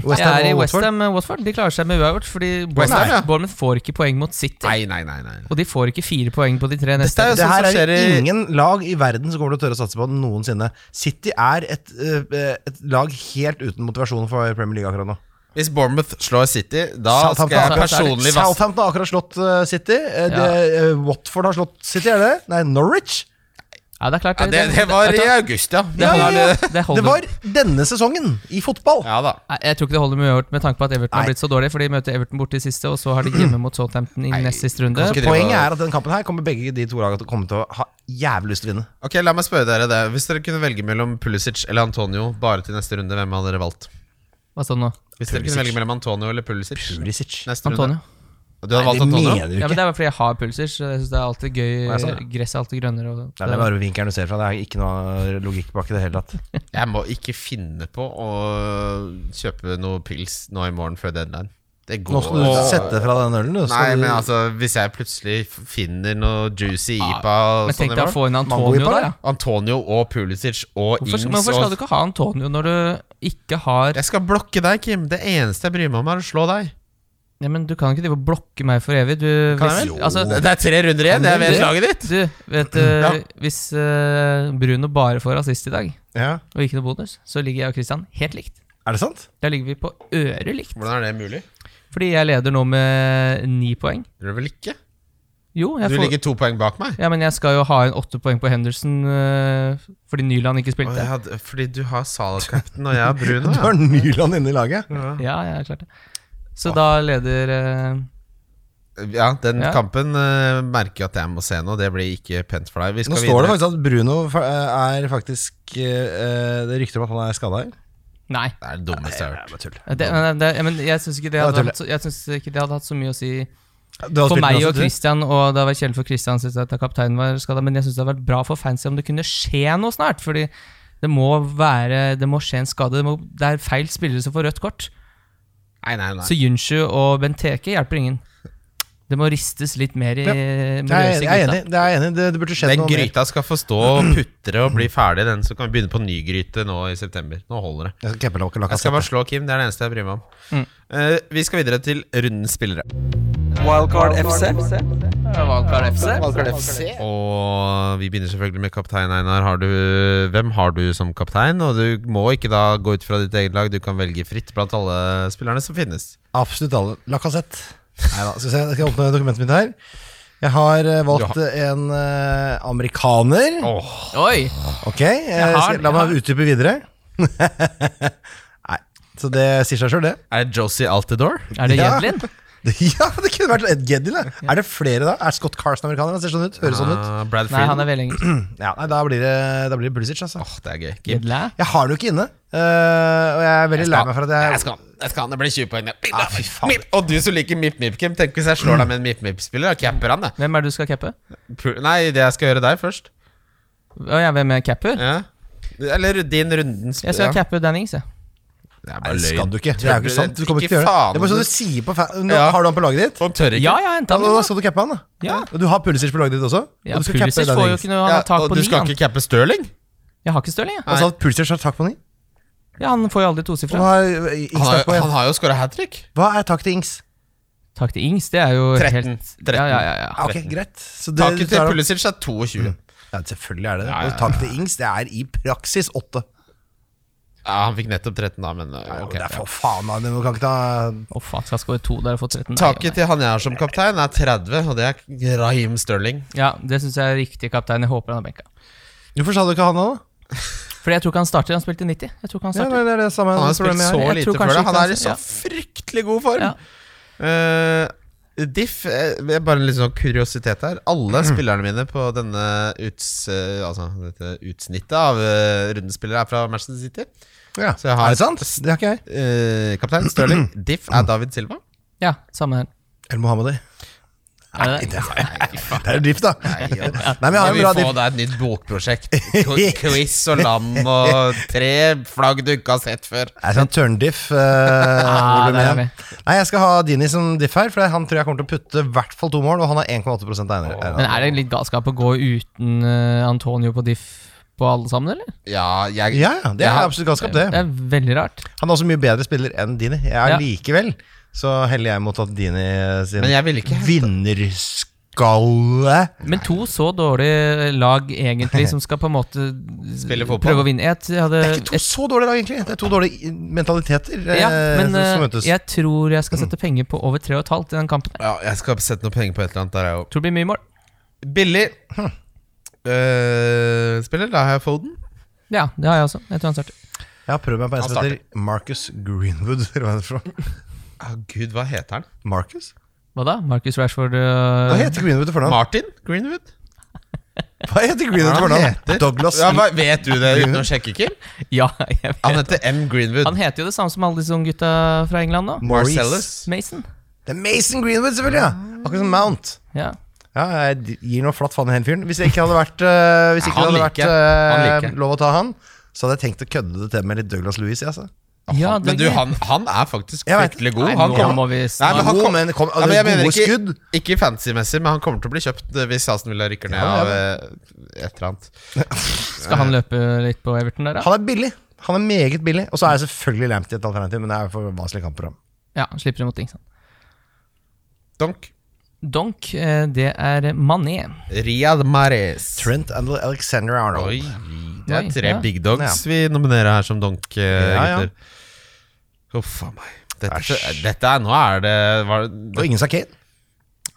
West
Jeg er i
og
West
Watford?
Ham eh, Watford. De klarer seg med uavgjort fordi
West Ham, ja.
Bournemouth Bournemouth får ikke poeng mot City.
Nei, nei, nei. nei.
Og de får ikke fire poeng på de tre neste.
er jo
Det
sånn
her
som
er det
skjer i-
ingen lag i verden som kommer til å tørre å satse på noensinne. City er et, eh, et lag helt uten motivasjon for Premier League akkurat nå.
Hvis Bournemouth slår City, da skal jeg
Southampton-
personlig vaske
Southampton har akkurat slått eh, City. Eh, det, eh, Watford har slått City, er det? Nei, Norwich.
Ja, det er klart.
ja, det, det var i august, ja.
det,
Ja,
holder,
ja, ja.
det, det
Det
holder.
var denne sesongen i fotball.
Ja da.
Nei, Jeg tror ikke det holder med uavgjort med tanke på at Everton
Nei.
har blitt så dårlig. For de møter Everton borte i siste, og så har de hjemme mot Southampton i nest siste runde.
kanskje ikke det.
Poenget er at den kampen her kommer begge de to lagene til å komme til å ha jævlig lyst til å vinne.
Ok, La meg spørre dere det. Hvis dere kunne velge mellom Pulisic eller Antonio bare til neste runde, hvem hadde dere valgt?
Hva står det nå?
Hvis dere kunne
Pulisic.
velge mellom Antonio eller Pulisic
Pulisic.
neste
Antonio.
runde Du hadde
Nei,
valgt
det
Antonio?
Ja,
mener du ikke.
men Det er bare fordi jeg har pulser. Så jeg synes Det er alltid
Ja, sånn,
gøy. Gresset er alltid grønnere. Og
Nei, det er bare vinkelen du ser fra. Det er ikke noe logikk bak i det hele tatt.
Jeg må ikke finne på å kjøpe noe pils nå i morgen før deadline. Det går
Nå skal du sette fra den ølen, du.
Nei,
Skal
men
du-
altså, hvis jeg plutselig finner noe juicy IPA og
Men
sånn
tenk
i
deg å
morgen
få inn
Mango i
Antonio
par,
der, ja.
Antonio og Pulisic og
Hvorfor,
Ings
men hvorfor skal du
og
ikke ha Antonio når du ikke har
Jeg skal blokke deg, Kim. Det eneste jeg bryr meg om, er å slå deg.
ja, men Du kan ikke drive og blokke meg for evig. Du,
Kan jeg
hvis,
vel?
altså,
Det er tre runder igjen. Jeg vet laget ditt.
du vet du, Hvis eh, Bruno bare får assist i dag,
Ja.
og ikke noe bonus, så ligger jeg og Christian helt likt.
Er det sant?
Da ligger vi på øret likt.
Hvordan er det mulig?
Fordi jeg leder nå med ni poeng.
Gjør det vel ikke?
Jo, jeg
Du
får
ligger to poeng bak meg.
Ja, men jeg skal jo ha en åtte poeng på Henderson eh, fordi Nyland ikke
Å,
spilte.
jeg hadde, fordi du har Salah-captain, og jeg har Bruno.
Du
Ja.
har Nyland inne i laget.
Ja, jeg er klart det. Så da leder eh,
ja, Den
Ja.
kampen eh, merker jeg at jeg må se nå. Det blir ikke pent for deg. Vi
Nå
skal
står det
videre.
faktisk at Bruno fa- er faktisk eh, Det rykter om at han er skada her.
Nei.
Det er det dummeste jeg har hørt.
Det, nei, det, men jeg syns ikke, det
Det var
hadde
tullet.
hatt så- jeg synes ikke det hadde hatt så mye å si
Du har
for
spilt med
meg
oss,
og
du.
Christian. Og det var kjedelig for Christian synes jeg at kapteinen var skada, men jeg syns det hadde vært bra for fancy om det kunne skje noe snart. Fordi det må være Det må skje en skade. Det, må, det er feil spillere som får rødt kort.
Nei, nei,
Så
nei.
Junsju og Benteke hjelper ingen. Det må ristes litt mer i med
Jeg er
løs i
enig, jeg er
gryta.
enig. Det, er enig. det, det burde skjedd
Den
noe mer.
gryta skal få stå og putre og bli ferdig, den. Så kan vi begynne på ny gryte nå i september. Nå holder det.
Jeg skal keppe lokket,
Jeg skal bare slå Kim. Det er det eneste jeg bryr meg om. Eh, vi skal videre til rundens spillere.
Wildcard FC.
Valkar FC.
Og vi begynner selvfølgelig med kaptein Einar. Har du, hvem har du som kaptein? Og du må ikke da gå ut fra ditt eget lag, du kan velge fritt blant alle spillerne som finnes.
Absolutt alle. Lacassette. Neida, skal vi se, jeg skal åpne dokumentet mitt her. Jeg har eh, valgt en eh, amerikaner.
Oi!
Ok, eh,
har-
skal, la meg
jeg
utdype videre. *laughs* Nei, så det sier seg sjøl, det. *laughs*
Er det Josie Altidore?
Er det
Ja.
Jedlin?
Ja, det kunne vært Ed Geddil. da. Er det flere da? Er Scott Carson amerikaner? Han Ser sånn ut, Høres sånn ut.
Ah, Brad
Nei, han
Friedel.
er veldig engelsk.
Ja, nei, da blir det, da blir det Pulisic, altså.
Åh, det er gøy. Kim.
Jedlin?
Jeg har det jo ikke inne, eh, og jeg er veldig lei meg for at jeg
Jeg skal, jeg skal, det blir 20 poeng. ja.
Ah, fy faen.
Mip. Og du som liker Mip-Mip, Kim. Tenk hvis jeg slår deg med en Mip-Mip-spiller. Jeg capper han, jeg.
Hvem er det du skal cappe?
Pu- Nei, det jeg skal gjøre deg først.
Å, ja, hvem er capper?
Ja. Eller din rundens
Jeg skal
ja.
cappe Dan Ings, jeg.
Det er
Nei,
bare
det skal
løgn.
du ikke. Det er jo ikke sant. Du kommer ikke til å gjøre
faen.
det. Det er bare sånn du sier på fan... Nå,
Ja.
Har du han på laget ditt?
Han tør ikke.
Ja, ja, henta
Ja,
han.
da
jo, da.
skal du cappe han, da.
Ja.
Og du har Pulisic på laget ditt også?
Ja,
og du skal cappe
Pulisic
den
får jo
Ings.
ikke noe Han har tak
og
på
du
ni.
skal
han.
ikke cappe Stirling?
Jeg har ikke Stirling, jeg.
Og så at Pulisic har takk på ni?
Ja, han får jo aldri
Og
tosifra.
hva er Ings
Han
takk
har,
på
han
igjen?
har jo skåra hat trick.
Hva er takk til Ings?
Takk til Ings, det er jo
13.
helt Ja, ja, ja,
Ja,
ja.
ok, greit. Så det-
Taket
så
til
er det-
Pulisic er 22.
Ja, selvfølgelig er det det. Og Takk til Ings, det er i praksis åtte.
Ja, han fikk nettopp 13, da, men uh, ok.
det er for faen, da. Du kan ikke ta
Å faen, skal jeg score to der og få 13? Nei, ja,
Taket
nei.
til han jeg har som kaptein, er 30, og det er Raheem Sterling.
Ja, det syns jeg er riktig kaptein. Jeg håper han har benka.
Hvorfor sa du ikke han da?
Fordi jeg tror ikke han starter. Han spilte 90. Jeg tror ikke han
Ja,
starter.
det er det samme
Han har spilt
problemet jeg
så
har.
Jeg
lite
tror
før
kanskje
det.
ikke
Han
han
er i så
skal-
fryktelig god form.
Ja.
Eh, Diff eh, det er Bare en litt sånn kuriositet her.
Mm.
Alle spillerne mine på denne uts, eh, altså, dette utsnittet av eh, rundespillere er fra Manchester City.
Ja.
Så jeg har-
Er det sant? Det har ikke jeg.
Eh, kaptein Stirling. Diff er David Silva.
Ja, samme her.
Eller Mohammedi.
Er det det?
Det er, det er jo drift, da. Nei, men jeg har
Jeg
en
vil
bra
få
drift.
deg et nytt bokprosjekt. Qu- Quiz og lam og tre flagg du ikke har sett før.
Det er sånn turndiff.
*laughs*
Uh,
Ah, der er vi.
Nei, jeg skal ha Dini som diff her, for han tror jeg kommer til å putte i hvert fall to mål, og han har 1,8 eier.
Men er det litt galskap å gå uten eh, Antonio på diff på alle sammen, eller?
Ja, jeg
Ja, ja. Det er
Ja.
absolutt galskap, det.
Det er veldig rart.
Han er også mye bedre spiller enn Dini. Jeg er
Ja.
likevel så heller jeg mot at Dini sin
Men jeg ville ikke
vinnerskalle
Men to så dårlige lag, egentlig, som skal på en måte
Spille fotball.
prøve å vinne. Jeg hadde
Det er
Eh,
ikke to så dårlige lag, egentlig. Det er to dårlige mentaliteter eh,
ja, men
som
eh,
møtes.
jeg tror jeg
*clears throat*
skal sette penger på over 3,5 i den kampen. her.
ja, Jeg skal sette noen penger på et eller annet. Der er jo
Tror det blir mye mål.
Billig Eh, spiller. Da har jeg Foden.
Ja, det har jeg også. Jeg tror han starter.
Jeg har prøvd meg på en
Han
som heter Marcus Greenwood. eller hva er det for noe?
Ah, Gud, hva heter han?
Marcus?
Hva da? Marcus Rashford
Eh,
Hva
øh,
heter Greenwood til fornavn?
Martin Greenwood?
Hva
Hva
heter Greenwood til
er det han
fornavn?
heter?
Douglas
Ja, hva, vet du det uten å sjekke, Kim?
Ja, *laughs* jeg vet.
Han heter M. Greenwood.
Han heter jo det samme som alle disse unge gutta fra England nå.
Maurice.
Marcellus.
Mason.
Det er Mason Greenwood, selvfølgelig! ja Akkurat som Mount.
Ja.
Ja, jeg gir noe flatt faen i den fyren. Hvis det ikke hadde vært, eh, hvis
Ja,
ikke det
han
hadde vært
liker.
eh,
Han liker.
lov å ta han, så hadde jeg tenkt å kødde det til med litt Douglas Louis. Altså.
ja
Men du, han, han er faktisk
Jeg vet.
fryktelig god.
Nei,
Han
nå
kommer-
må vi
Nei, men
snart
han
God,
kom-
men kom-
Nei, men jeg mener
Altså, gode
ikke,
skudd.
ikke fancy-messig, men han kommer til å bli kjøpt eh, hvis Aston Villa rykker ned
Ja,
av
ja,
eh, et eller annet.
Skal han løpe litt på Everton der, da?
Han er billig. Han er meget billig. Og så er jeg selvfølgelig Lamptey et alternativ, men det er for vanskelig kampprogram.
Ja, han slipper imot ting. sant?
Donk.
Donk, eh, det er Mané.
Riyad Mahrez.
Trent and Alexander
Oi,
Arnold.
det er
Oi,
tre
ja.
big dogs vi nominerer her som donk, eh,
Ja, ja.
gutter. Huff a meg. Dette, dette er Nå er det, var det
Og ingen sa Kane.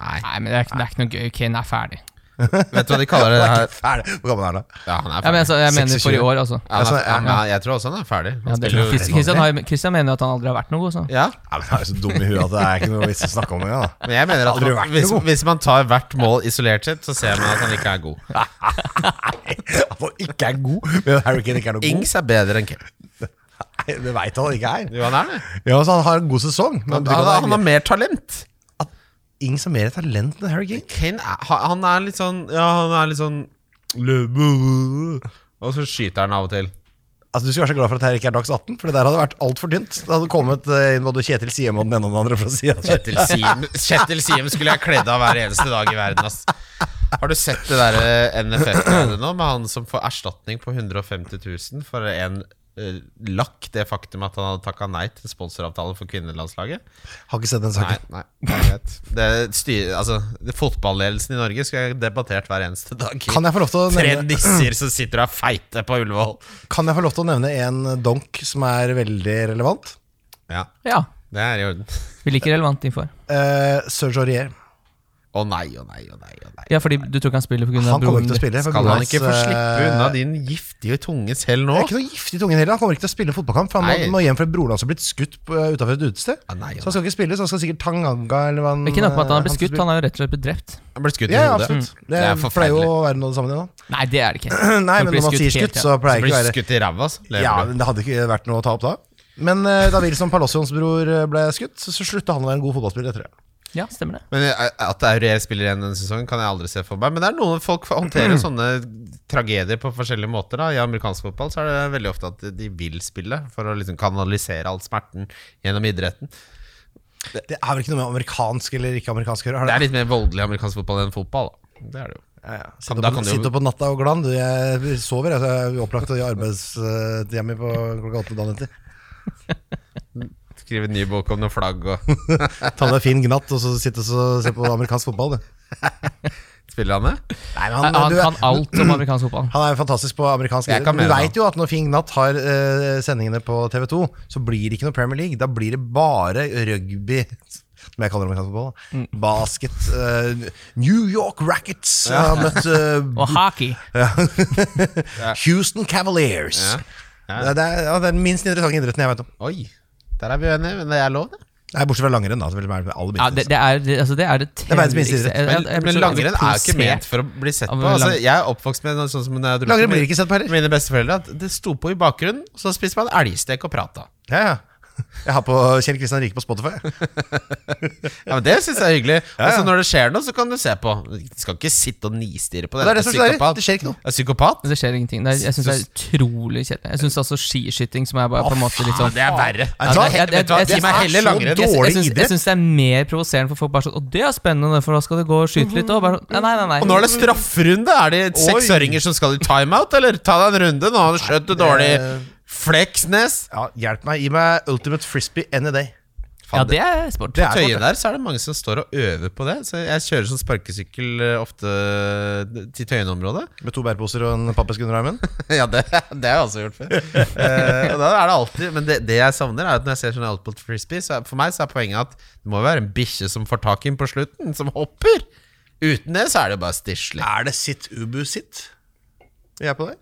Nei,
Nei, men det er, ikke- det er ikke noe gøy. Kane er ferdig.
vet du hva de kaller det
*laughs*
her?
Ferdig. Hvor gammel er han da?
Ja, han er
Ja, men
ferdig.
altså, jeg mener for i
26.
år, altså.
Ja, han er,
altså,
ja, jeg tror også han er ferdig.
Ja,
Han
det,
spiller jo
Christian, Christian, har, Christian mener at han aldri har vært noe altså. god, så.
Ja,
Ja, men Han er jo så dum i huet at det er ikke noe vits å snakke om
*laughs*
engang. da.
men jeg mener at
Aldri
man,
vært
hvis,
god.
hvis man tar hvert mål isolert sett, så ser man at han ikke er god.
At han ikke er god, men Harry Kane ikke er noe god.
Ings er bedre enn Kane.
Nei, Det veit han ikke er.
Jo, han er det.
Ja, altså, Han har en god sesong, men
Han,
du kan
han,
da-
han har mer talent.
Ings har mer talent enn Harry Kane.
Kane er, ha- han er litt sånn Ja, han er litt sånn Og så skyter han av og til.
Altså Du skal være så glad for at her ikke er dags 18, for det der hadde vært altfor tynt. Det hadde kommet eh, inn både Kjetil Siem og den ene og den andre fra sida.
Kjetil
*laughs*
Siem, Kjetil Siem skulle jeg kledd av hver eneste dag i verden, ass. Har du sett det eh, derre NFF-greiene nå, med han som får erstatning på 150 000 for en eh, lakk det faktum at han hadde takka nei til sponsoravtale for kvinnelandslaget?
Har ikke sett den
Nei,
saken.
nei, jeg vet. Det styr, altså, det- fotballedelsen i Norge skulle jeg debattert hver eneste dag.
Kan jeg, få lov til å
Tre
nevne,
nisser som sitter og er feite på Ullevål.
kan jeg få lov til å nevne en donk som er veldig relevant?
Ja,
Ja,
det er i orden.
vi liker relevant info her.
Uh, Serge Aurier.
Å nei, å nei, å nei. å nei
Ja, fordi du tror ikke han spiller pga.
Han kommer
broren din?
ikke til å spille. for
Skal
broren
han ikke få
hans, eh,
slippe unna din giftige tunge selv nå?
Det er ikke noe giftig i tungen heller. Han kommer ikke til å spille fotballkamp, for han
Nei.
må- må hjem fordi broren hans har blitt skutt utafor et utested.
Ah, nei, ja,
så han skal ikke spille, så han skal sikkert Tanganga eller hva han
Ikke nok med at han er beskutt,
skal
han er jo rett og slett blitt drept.
Han ble skutt
spille. Ja,
i hodet.
absolutt. Det,
Mm. Det er
pleier jo
forferdelig.
å være noe av det samme igjen, da.
Nei, det er det ikke.
*laughs* Nei,
Folk
men
blir
når man sier
skutt helt,
skutt, så
Så
pleier det
ble
ikke å være
du skutt i ræva, altså. Lever
Ja,
du?
men Det hadde ikke vært noe å ta opp da. Men eh, da Wilson Palacios bror eh, ble skutt, så slutta han å være en god fotballspiller etter det.
Ja, stemmer det.
Men eh, At Aurier spiller igjen denne sesongen, kan jeg aldri se for meg. Men det er noen folk håndterer *clears throat* jo sånne tragedier på forskjellige måter. Da. I amerikansk fotball så er det veldig ofte at de vil spille for å liksom kanalisere all smerten gjennom idretten.
Det er vel ikke noe med amerikansk eller ikke amerikansk å gjøre? har
Det er litt mer voldelig amerikansk fotball enn fotball. Da. Det er det jo.
Ja, ja.
Kan-
Sitte,
da
opp,
kan du jo-
sitte opp på natta og glan. Du, jeg sover, jeg. Så jeg er opplagt i arbeidstida mi eh, på klokka åtte dagen etter.
Skrive en ny bok om noe flagg og *laughs*
Ta deg fin gnatt og så sitte og se på amerikansk fotball, du.
spille han det.
Nei, men
Han, han
du er-
kan alt om amerikansk fotball.
han er jo fantastisk på amerikansk
Jeg kan
idrett. Du
mene det.
veit jo at når Finn Gnatt har eh, sendingene på TV2, så blir det ikke noe Premier League. Da blir det bare rugby, som jeg kaller amerikansk fotball. da.
Mm.
Basket. eh, New York Rackets har møtt
*laughs*
eh,
Og hockey.
Houston Cavaliers.
Ja.
Det, det, er, ja, det er den minst interessante idretten jeg vet om.
Oi, der er vi uenige, men det er lov, det.
Nei, bortsett fra langrenn, da. Som vel er det aller
Ja,
minste.
det, det er det altså, det er det
er verdens minste idrett.
Jeg- jeg-
Men,
jeg blir
men
så
langrenn er jo ikke
provosert.
ment for å bli sett
Ja,
på.
men
Altså,
lang-
jeg er oppvokst med noe sånn som når jeg dro
Langrenn
til
blir ikke sett på heller.
mine besteforeldre. At det sto på i bakgrunnen, og så spiste man elgstek og prata.
Ja, ja. Jeg har på Kjell Kristian Rike på Spotify.
Ja, men Det syns jeg er hyggelig.
*laughs* ja.
Og så når det skjer noe, så kan du se på. Du skal ikke sitte og nistirre på det.
Det er det som
er
skjer.
psykopat.
Det skjer ikke noe.
Er du psykopat?
Men Det skjer ingenting. Det er, jeg syns det er utrolig kjedelig. Jeg syns også skiskyting, som er bare på en måte litt sånn
Det er verre.
Ja, det- jeg- jeg-
Vet du hva,
jeg-
Gi meg heller
Det er
langrenn.
så
Jeg,
dårlig
jeg, syns- jeg
idrett.
syns det er mer provoserende for folk bare sånn Å, det er spennende, for da skal du gå og skyte litt. Og bare, sånn, nei, nei, nei.
Og nå er det strafferunde. Er det seksåringer som skal i timeout, eller? Ta deg en runde, nå skjøt du dårlig. Fleksnes.
Ja, hjelp meg. Gi meg Ultimate Frisbee any day.
Ja, det er sport.
Det er
På Tøyen
sport,
der så er det mange som står og øver på det. Så Jeg kjører sånn sparkesykkel eh, ofte eh, til Tøyen-området.
Med to bærposer og en pappeske under armen.
*laughs* ja, det, det har jeg også gjort før. Eh, og da er det alltid Men det, det jeg savner, er at når jeg ser sånne output frisbee, så er, for meg så er poenget at det må jo være en bikkje som får tak i den på slutten, som hopper. Uten det så er det jo bare stislig.
Er det sitt ubu sitt? Vi er på det?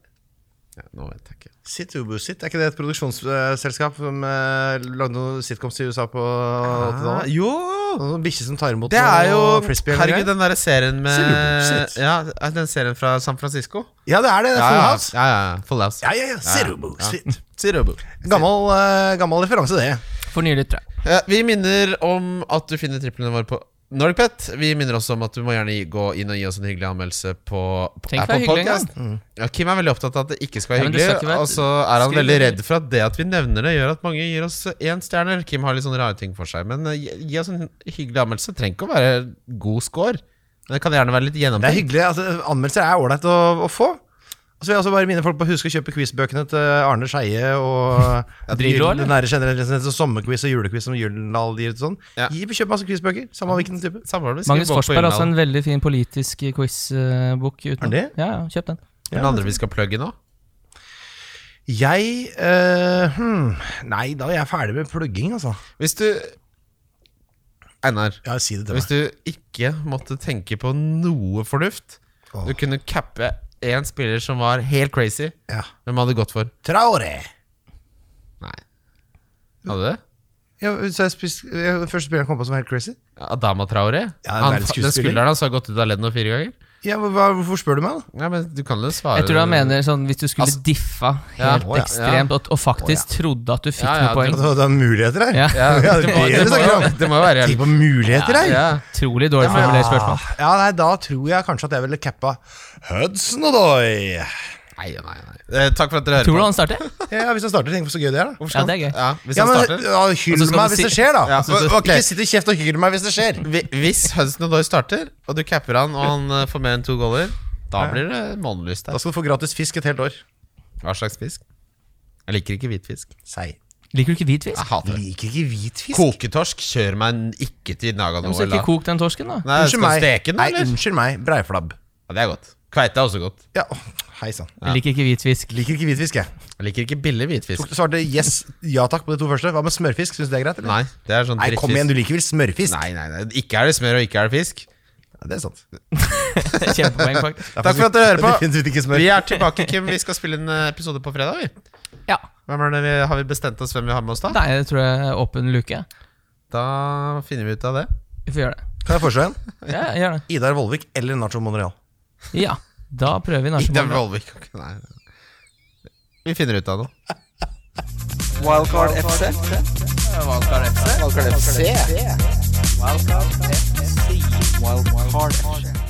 Ja, nå vet jeg ikke.
Sitt ubu sitt. Er ikke det et produksjonsselskap som eh, lagde noen sitcoms i USA på 80-tallet?
jo!
Noen bikkjer som tar imot
Det er jo
noe frisbee eller
Herregud,
noe?
den derre serien med
Sitt.
Ja, den serien fra San Francisco.
Ja, det er det. det er
Ja,
Full
ja,
House.
ja, ja. Full house.
Ja, ja, ja. Sitt ubu sitt.
Sirobo.
Gammel, eh, gammel referanse, det.
For nye lyttere.
Eh, Vi minner om at du finner triplene våre på NordicPet. Vi minner også om at du må gjerne gi- gå inn og gi oss en hyggelig anmeldelse på på
Tenk
Apple
deg hyggelig en
Podcast. Mm. Ja, Kim er veldig opptatt av at det ikke skal
Ja,
være
men du
hyggelig.
skal ikke være-
og så er han
skriv
veldig
det.
redd for at det at vi nevner det, gjør at mange gir oss én stjerne. Kim har litt sånne rare ting for seg. Men eh, gi, gi oss en hyggelig anmeldelse. Trenger ikke å være god score. Men det kan gjerne være litt
Det er
gjennomtenkt.
hyggelig. Altså, anmeldelser er ålreit å, å få. Og så vil jeg også bare minne folk på å huske å kjøpe quizbøkene til Arne Skeie
*laughs*
og
Drillo, eller?
Den nære generelle sånn sommerquiz og julequiz som Gyldendal gir ut sånn.
Ja.
Gi, kjøp masse quizbøker, samme hvilken type.
Samler du? Skriv
Magnus
bok på
Forsberg har også
Gyldendal.
en veldig fin politisk eh, quiz-bok.
Er det?
Ja, ja, kjøp den.
Er det noen andre vi skal plugge nå?
Jeg eh, hmm, Nei, da er jeg ferdig med plugging, altså.
Hvis du Einar.
Ja, si det til
Hvis
meg.
du ikke måtte tenke på noe fornuft Du kunne cappe en spiller som var helt crazy
Ja.
Hvem hadde du gått for?
Traore!
Nei Hadde du det?
Ja, så jeg spist, jeg, første spilleren jeg kom på som var helt crazy?
Adama Traoré?
Ja,
han,
verdens
den
skuespiller.
skulderen hans har gått ut av ledd nå fire ganger
Ja, men hva, Hvorfor spør du meg, da?
Nei, men du kan jo svare
Jeg tror han mener sånn hvis du skulle
Altså-
diffa
Ja,
helt
å ja,
ekstremt, og, og faktisk trodde at du fikk
Ja, ja,
noen
*laughs*
poeng.
Altså, det er muligheter her?
Ja.
*laughs* Ja,
det,
det
må,
er
det,
det du
må,
snakker om.
jo- det må jo være
Tenk på muligheter her!
ja.
Utrolig dårlig formulert spørsmål.
Ah, Ja, nei, Da tror jeg kanskje at jeg ville cappa Hudson og Doy.
Nei, nei, nei eh, Takk for at dere hører
Tror du
på
han starter?
Ja, hvis han starter, tenk på så gøy det er, da.
Hvorfor
Ja,
skal
det er gøy.
han- ja, Hvis
Ja,
han
men,
starter Altså,
ja, hyll
Og så skal
meg
du
hvis
si-
det skjer, da.
Ja, altså, så-
Ok, Ikke sitt i kjeft og hyll meg hvis det skjer.
Hvi- Hvis Hudson Odoi starter Og du capper han Og han eh, får mer enn to goller Da blir det månelyst
Da
der
skal du få gratis fisk et helt år.
Hva slags fisk? Jeg liker ikke hvitfisk
Sei.
Liker du ikke hvitfisk?
Jeg hater det
Liker ikke hvitfisk.
Koketorsk, kjør meg n- ikke til Nagano.
Så ikke
eller-
kok den torsken, da.
Nei, skal du steke den,
Nei,
eller?
unnskyld meg. Breiflabb.
Ja, det er godt. Kveite er også godt.
Ja, åh, Hei sann.
Jeg liker ikke *laughs* hvitfisk.
Liker ikke hvitfisk, jeg.
Jeg liker ikke billig hvitfisk.
Du svarte yes, ja takk på de to første. Hva med smørfisk? Syns du det er greit? Eller?
Nei, det er sånn
Nei, kom
drittfisk.
igjen, du liker vel smørfisk?
Nei, nei, nei. Ikke er det smør, og ikke er det fisk.
Ja, det er sant.
Kjempepoeng, faktisk.
Takk for at dere hører
*laughs* Det er
på.
definitivt ikke smør.
Vi er tilbake, Kim. Vi skal spille en eh, episode på fredag. vi
Ja.
hvem er det vi, Har vi bestemt oss hvem vi har med oss da?
Nei, det tror jeg er åpen luke.
Da finner vi ut av det.
Vi får gjøre det.
Kan jeg foreslå en?
Ja, gjør det.
Idar Vollvik eller Nacho Monreal?
Ja, da prøver vi
Ikke
nachspiel.
Volvik. Nei. Vi finner ut av noe.
Wildcard FC.
Valgkar FC.
Wildcard FC. Wildcard FC. Wildcard FC.